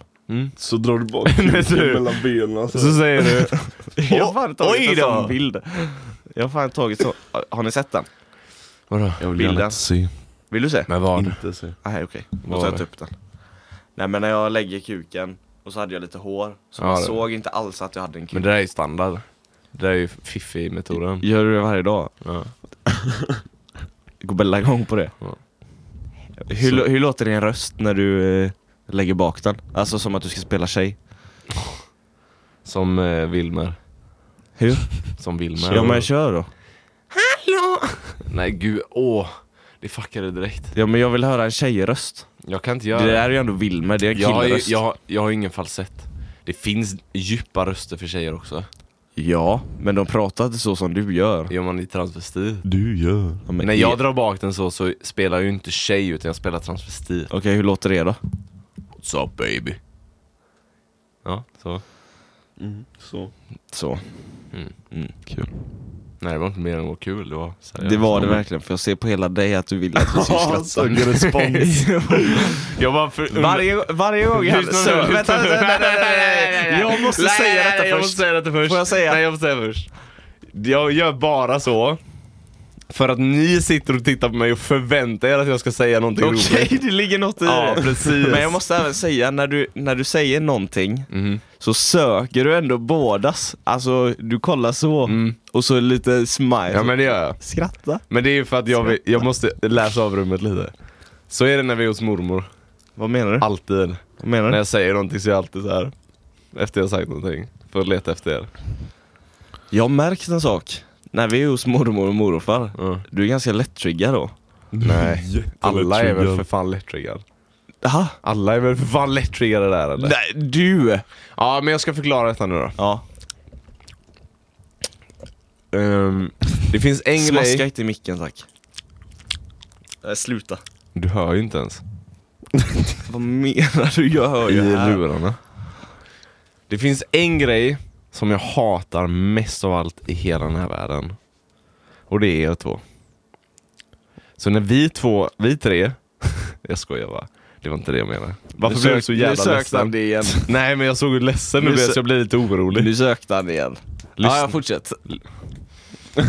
S4: Så drar du bak
S3: Vet du?
S4: mellan benen. Så.
S3: Så säger du.
S2: Jag har fan tagit
S3: oj
S2: en
S3: då.
S2: sån bild. Jag har fan tagit så. Har ni sett den?
S3: Vadå?
S4: Jag vill
S2: Bilden.
S4: gärna inte se.
S2: Vill du se?
S3: Men vad?
S4: Inte se.
S2: Nej okej, då
S3: Vad
S2: tar
S3: var
S2: jag upp den. Nej men när jag lägger kuken och så hade jag lite hår. Så
S3: Ja,
S2: man
S3: det-
S2: såg inte alls att jag hade en
S3: Men
S2: kuk.
S3: det där är ju standard. Det där är ju fiffi-metoden.
S2: Gör du det varje dag?
S3: Ja.
S2: Går Bella igång på det?
S3: Ja.
S2: Hur,
S3: Så-
S2: lå- hur låter din röst när du eh, lägger bak den? Alltså som att du ska spela tjej.
S3: Som eh, Wilmer.
S2: Hur?
S3: Som Wilmer.
S2: Ja men kör då.
S3: Nej gud, åh. Det fuckade direkt.
S2: Ja men jag vill höra en tjejröst.
S3: Jag kan inte göra
S2: Det
S3: det.
S2: där är ju ändå Wilmer, det är en
S3: Jag har, ju,
S2: killröst.
S3: jag, har- jag har ingen falsett. Det finns djupa röster för tjejer också.
S2: Ja, men de pratar inte så som du gör.
S3: Gör man i transvestit.
S4: Du gör.
S2: Ja, men e-
S3: När
S2: i-
S3: jag drar bak den så, så spelar jag ju inte tjej utan jag spelar transvestit.
S2: Okej, hur låter det då?
S3: What's up baby? Ja, så.
S4: Så.
S2: Så.
S4: Kul.
S3: Nej det var inte mer än vad kul, det var seriöst.
S2: Det var det verkligen, för jag ser på hela dig att du vill att vi ska skratta.
S4: Söker respons.
S3: Jag var för...
S2: Varje, varje gång jag...
S3: Lyssna nu,
S2: Så,
S3: lyssna
S2: vänta,
S3: nu.
S2: vänta, nej, nej, nej, nej, nej. Jag måste
S3: Nej,
S2: säga
S3: nej,
S2: detta
S3: nej, Jag måste
S2: först.
S3: säga detta först.
S2: Får jag säga?
S3: Nej, jag måste säga först. Jag gör bara så. För att ni sitter och tittar på mig och förväntar er att jag ska säga någonting
S2: Okej,
S3: roligt.
S2: det ligger något i
S3: Ja,
S2: det.
S3: precis.
S2: Men jag måste även säga, när du, när du säger någonting så söker du ändå bådas. Alltså, du kollar så och så lite smile.
S3: Ja men det gör jag.
S2: Skratta.
S3: Men det är ju för att jag, vill- jag måste läsa av rummet lite. Så är det när vi är hos mormor.
S2: Vad menar du?
S3: Alltid.
S2: Vad menar
S3: När
S2: du?
S3: jag säger någonting så är jag alltid så här. Efter jag har sagt någonting. För att leta efter er.
S2: Jag har märkt en sak. När vi är hos mormor och morfar,
S3: Mm.
S2: du är ganska lättriggad då.
S3: Nej. Alla är väl
S4: Jättelättriggad.
S3: för fan lättriggad.
S2: Jaha?
S3: Alla är väl för fan lättriggade där eller?
S2: Nej, du!
S3: Ja men jag ska förklara detta nu då.
S2: Ja.
S3: Ehm, det finns en grej...
S2: Smaska inte i micken tack. Nej, sluta.
S3: Du hör ju inte ens.
S2: Vad menar du? Jag hör
S3: I
S2: ju här.
S3: lurarna. Det finns en grej som jag hatar mest av allt i hela den här världen. Och det är er två. Så när vi två, vi tre, jag skojar bara. Det var inte det jag menade. Varför
S2: Nu
S3: blev du
S2: sök-
S3: så
S2: nu
S3: jävla
S2: sökte
S3: ledsen?
S2: han det igen.
S3: Nej men jag såg ju ledsen
S2: Nu
S3: ut
S2: sö-
S3: så jag blev lite orolig.
S2: Nu sökte han igen.
S3: Lyssna.
S2: Ja, jag fortsätt.
S4: Vi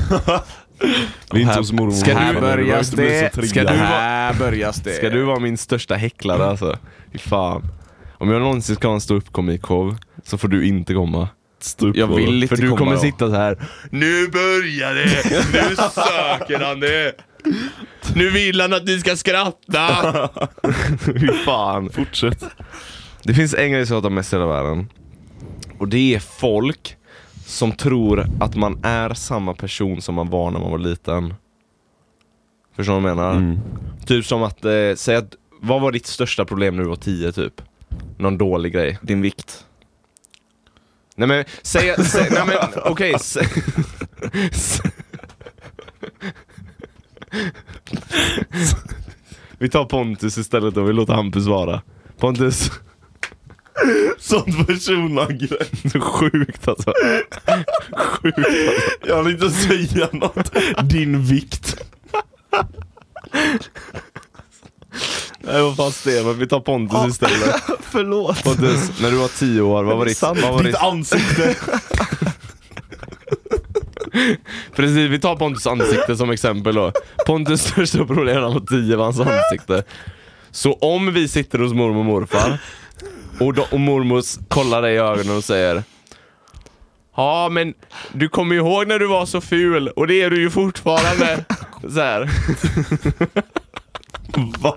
S4: är inte hos mormor och
S3: Ska du
S4: morfar, men
S3: börja
S4: behöver inte bli
S3: det?
S4: så
S3: Ska
S4: triggad.
S3: du vara-
S2: Här börjas det.
S3: Ska du vara min största häcklare alltså? Fy fan. Om jag någonsin ska ha en ståuppkomikshow så får du inte komma.
S4: Stå upp
S2: Jag
S4: bara.
S2: vill inte
S3: För du
S2: komma
S3: kommer
S2: då.
S3: sitta så här. Nu börjar det! Nu söker han det! Nu vill han att ni ska skratta! Fy fan.
S4: Fortsätt.
S3: Det finns en grej som jag hatar mest i hela världen. Och det är folk som tror att man är samma person som man var när man var liten. Förstår du vad jag menar? Typ som att, eh, säg att, vad var ditt största problem när du var 10 typ? Någon dålig grej.
S2: Din vikt.
S3: Nej men, säg, säg nej men okej. sä- s- vi tar Pontus istället och vi låter Hampus vara. Pontus.
S4: Sånt personangrepp.
S3: Sjukt alltså.
S4: Jag vill inte säga något. Din vikt.
S3: Nej vad fan Steven, vi tar Pontus istället.
S2: Förlåt.
S3: Pontus, när du var 10 år, vad var ditt... Vad var ditt
S4: ansikte.
S3: Precis, vi tar Pontus ansikte som exempel då. Pontus största problem när han var 10 var hans ansikte. Så om vi sitter hos mormor och morfar och, de, och mormor s- kollar dig i ögonen och säger Ja men du kommer ju ihåg när du var så ful och det är du ju fortfarande. Så här.
S4: Va?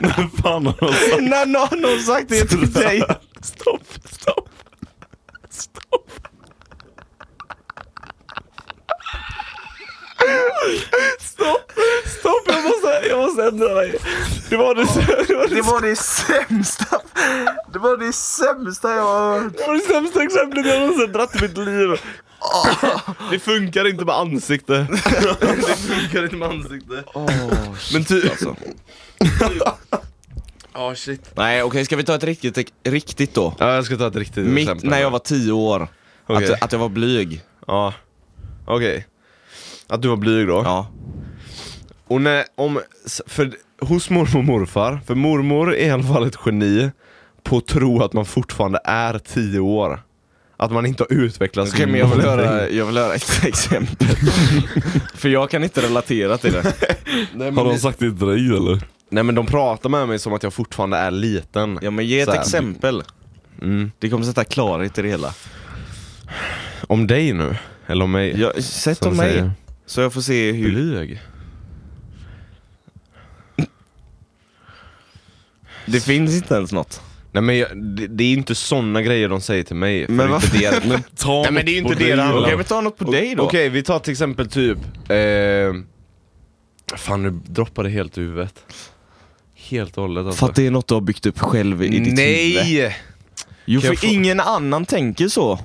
S4: När fan har de sagt
S2: När någon har sagt det till dig.
S4: Stopp, stopp. Stopp.
S2: Stopp, jag måste, jag måste ändra mig. Det var det, det, var det sämsta. Det var det sämsta jag har hört.
S3: Det var det sämsta exemplet jag någonsin dratt i mitt liv. Det funkar inte med ansikte. Ah. Det funkar inte med ansikte. Men ty... Ja shit.
S2: Nej okej, ska vi ta ett riktigt, riktigt då?
S3: Ja jag ska ta ett riktigt
S2: Mitt,
S3: exempel.
S2: när jag var tio år.
S3: Okej.
S2: Att, att jag var blyg.
S3: Ja. Okej. Att du var blyg då.
S2: Ja.
S3: Och när, om, s- för, hos mormor och morfar, för mormor är i alla fall ett geni på att tro att man fortfarande är 10 år. Att man inte har utvecklats
S2: Okej men jag vill,
S3: någonting.
S2: höra, jag vill höra ett exempel. Mm. För jag kan inte relatera till det.
S4: Har de sagt det till dig eller?
S3: Nej men de pratar med mig som att jag fortfarande är liten.
S2: Ja men ge ett
S3: Så här.
S2: exempel. Det kommer sätta klarhet i det hela.
S3: Om dig nu? Eller om mig?
S2: Jag, sätt
S3: Som
S2: om mig.
S3: säger.
S2: Så jag får se hur...
S3: Blyg?
S2: Det finns inte ens något.
S3: Nej men jag, det, det är ju inte såna grejer de säger till mig. för
S2: Men
S3: det är
S2: vad-
S3: inte det-
S4: Men ta
S3: Nej men det är ju inte det det handlar om.
S2: Okej, vi tar något på dig då.
S3: Okej, vi tar till exempel typ... Eh, fan, nu droppar det helt i huvudet. Helt och hållet alltså.
S2: För att det är något du har byggt upp själv i ditt huvud.
S3: Nej!
S2: Jo,
S3: Kan
S2: för
S3: jag få-
S2: ingen annan tänker så.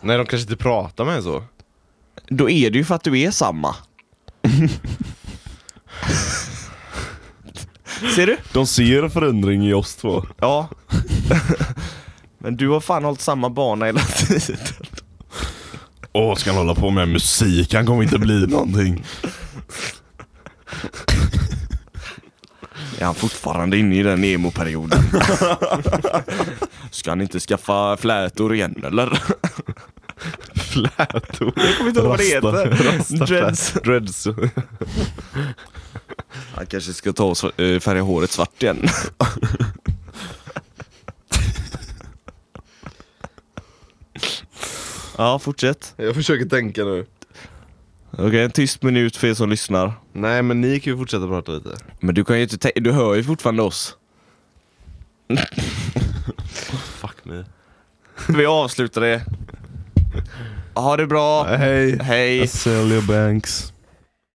S3: Nej, de kanske inte pratar med en så.
S2: Då är det ju för att du är samma. Ser du?
S4: De ser förändring i oss två.
S2: Ja. Men du har fan hållit samma bana hela tiden.
S4: Åh, ska han hålla på med musik? Han kommer inte bli någonting.
S2: Är han fortfarande inne i den emo-perioden? Ska han inte skaffa flätor igen eller?
S3: flätor.
S2: kommer inte ihåg vad det heter. Dreads.
S3: Dreads. Dreads.
S2: Han kanske ska ta och sv- eh, färga håret svart igen. ja, fortsätt.
S3: Jag försöker tänka nu.
S2: Okej, en tyst minut för er som lyssnar.
S3: Nej men ni kan ju fortsätta prata lite.
S2: Men du kan ju inte tä- du hör ju fortfarande oss.
S3: Fuck me.
S2: Vi avslutar det. Ha det bra.
S3: Hej.
S2: Hej.
S3: I sell your banks.